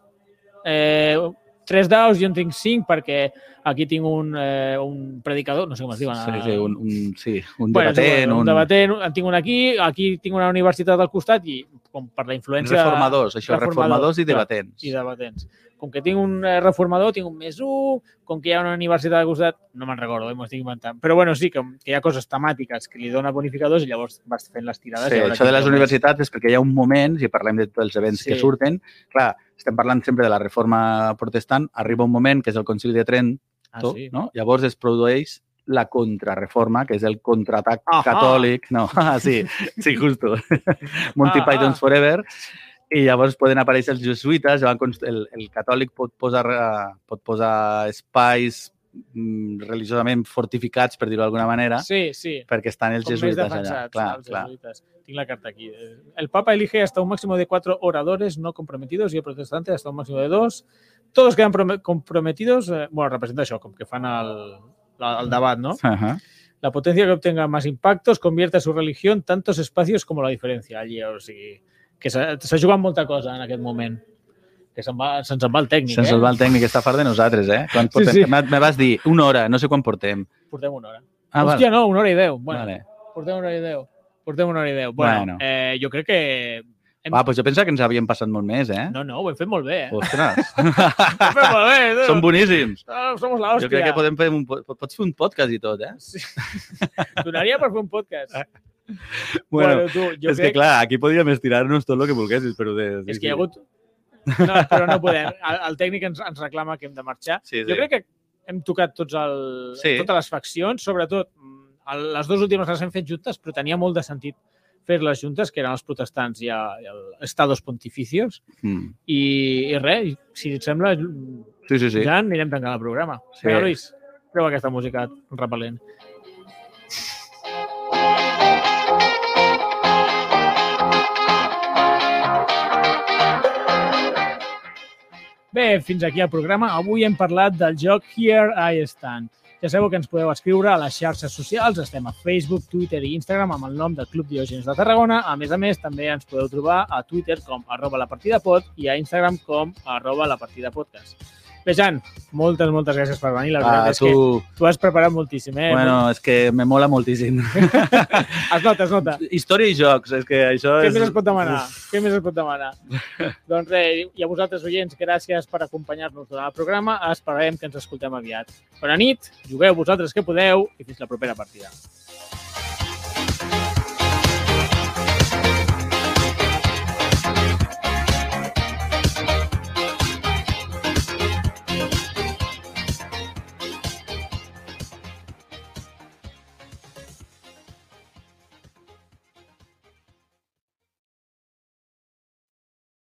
eh, tres daus, jo en tinc cinc perquè aquí tinc un, eh, un predicador, no sé com es diuen. eh,
Sí, sí, un, un, sí, un
Bueno, és
debatent,
igual,
un,
un debatent, un... en tinc un aquí, aquí tinc una universitat al costat i com per la influència...
reformadors, això,
reformador,
reformadors i
clar,
debatents.
I debatents. Com que tinc un eh, reformador, tinc un més un, com que hi ha una universitat al costat, no me'n recordo, eh, m'ho estic inventant. Però bueno, sí, que, que hi ha coses temàtiques que li dona bonificadors i llavors vas fent les tirades.
Sí,
i a veure
això de
qui
les
treu més.
universitats és perquè hi ha un moment, si parlem de tots els events
Sí.
que surten, clar, estem parlant sempre de la reforma protestant, arriba un moment que és el concili de Trent,
Ah,
tot,
sí?
no? llavors es produeix la contrarreforma, que és el contraatac
Ahà!
catòlic. No, *laughs* ah, sí, sí,
*laughs*
justo. Monty
Ah,
Python's
ah.
Forever. I llavors poden aparèixer els jesuïtes, ja van const- el, el catòlic pot posar, eh, pot posar espais mm, religiosament fortificats, per dir-ho d'alguna manera,
Sí, sí.
perquè estan els
Com més
jesuïtes allà.
defensats,
Clar,
els
clar.
jesuïtas. Tinc la carta aquí. Eh, El Papa elige hasta un máximo de cuatro oradores no comprometidos y el protestante hasta un máximo de dos. Todos quedan prome- comprometidos. eh, bueno, representa això, com que fan el, la- el debat, ¿no?
Ahà.
La potencia que obtenga más impactos convierte a su religión tantos espacios como la diferencia. Allí, o sigui, que s'ha s'ha jugat molta cosa en aquest moment. Que se'n va, se'ns en va el tècnic,
Se'ns
eh?
el va el tècnic, està fart de nosaltres, eh? Quan portem,
sí.
sí, sí. Me vas dir una hora, no sé quan portem.
Portem una hora.
Ah,
Hòstia, no, una hora i deu. Bueno,
vale.
Portem una hora i deu. Portem una hora i deu. Bueno,
Bueno.
Eh, jo crec que... Hem...
Va, doncs jo pensava que ens havíem passat molt més, eh?
No, no, ho hem fet molt bé, eh?
Ostres,
Ho hem fet molt bé. eh?
són boníssims.
Ah, Somos la
Jo
hòstia.
crec que podem fer un, po- pots fer un podcast i tot, eh?
Sí. Donaria per fer un podcast.
Bueno,
tu, jo
és que
crec...
clar, aquí podríem estirar-nos tot el que volguessis, però... De,
és que hi ha hagut... No, però no podem. El, el tècnic ens, ens reclama que hem de marxar.
Sí, sí.
Jo crec que hem tocat tots el,
Sí.
totes les faccions, sobretot mm, el- les dues últimes les hem fet juntes, però tenia molt de sentit fer-les juntes, que eren els protestants i, el, i el Estados Pontificios.
Mm.
I, i res, i si et sembla,
Sí, sí, sí.
Ja anirem tancant el programa. Sí.
Sí.
Vinga, Luis, treu aquesta música repel·lent. Bé, fins aquí el programa. Avui hem parlat del joc Here I Stand. Ja sabeu que ens podeu escriure a les xarxes socials. Estem a Facebook, Twitter i Instagram amb el nom del Club Diògenes de Tarragona. A més a més, també ens podeu trobar a Twitter com arroba la partida pod i a Instagram com arroba la partida podcast. Bé, Jan, moltes, moltes gràcies per venir. La veritat
Ah,
és
tu...
que tu has preparat moltíssim, eh?
Bueno, és que me mola moltíssim.
Es nota, es nota.
Història i jocs, és que això
Què
és...
més es pot demanar? Què més es pot
*laughs*
demanar? doncs res, i a vosaltres, oients, gràcies per acompanyar-nos durant el programa. Esperem que ens escoltem aviat. Bona nit, jugueu vosaltres que podeu i fins la propera partida.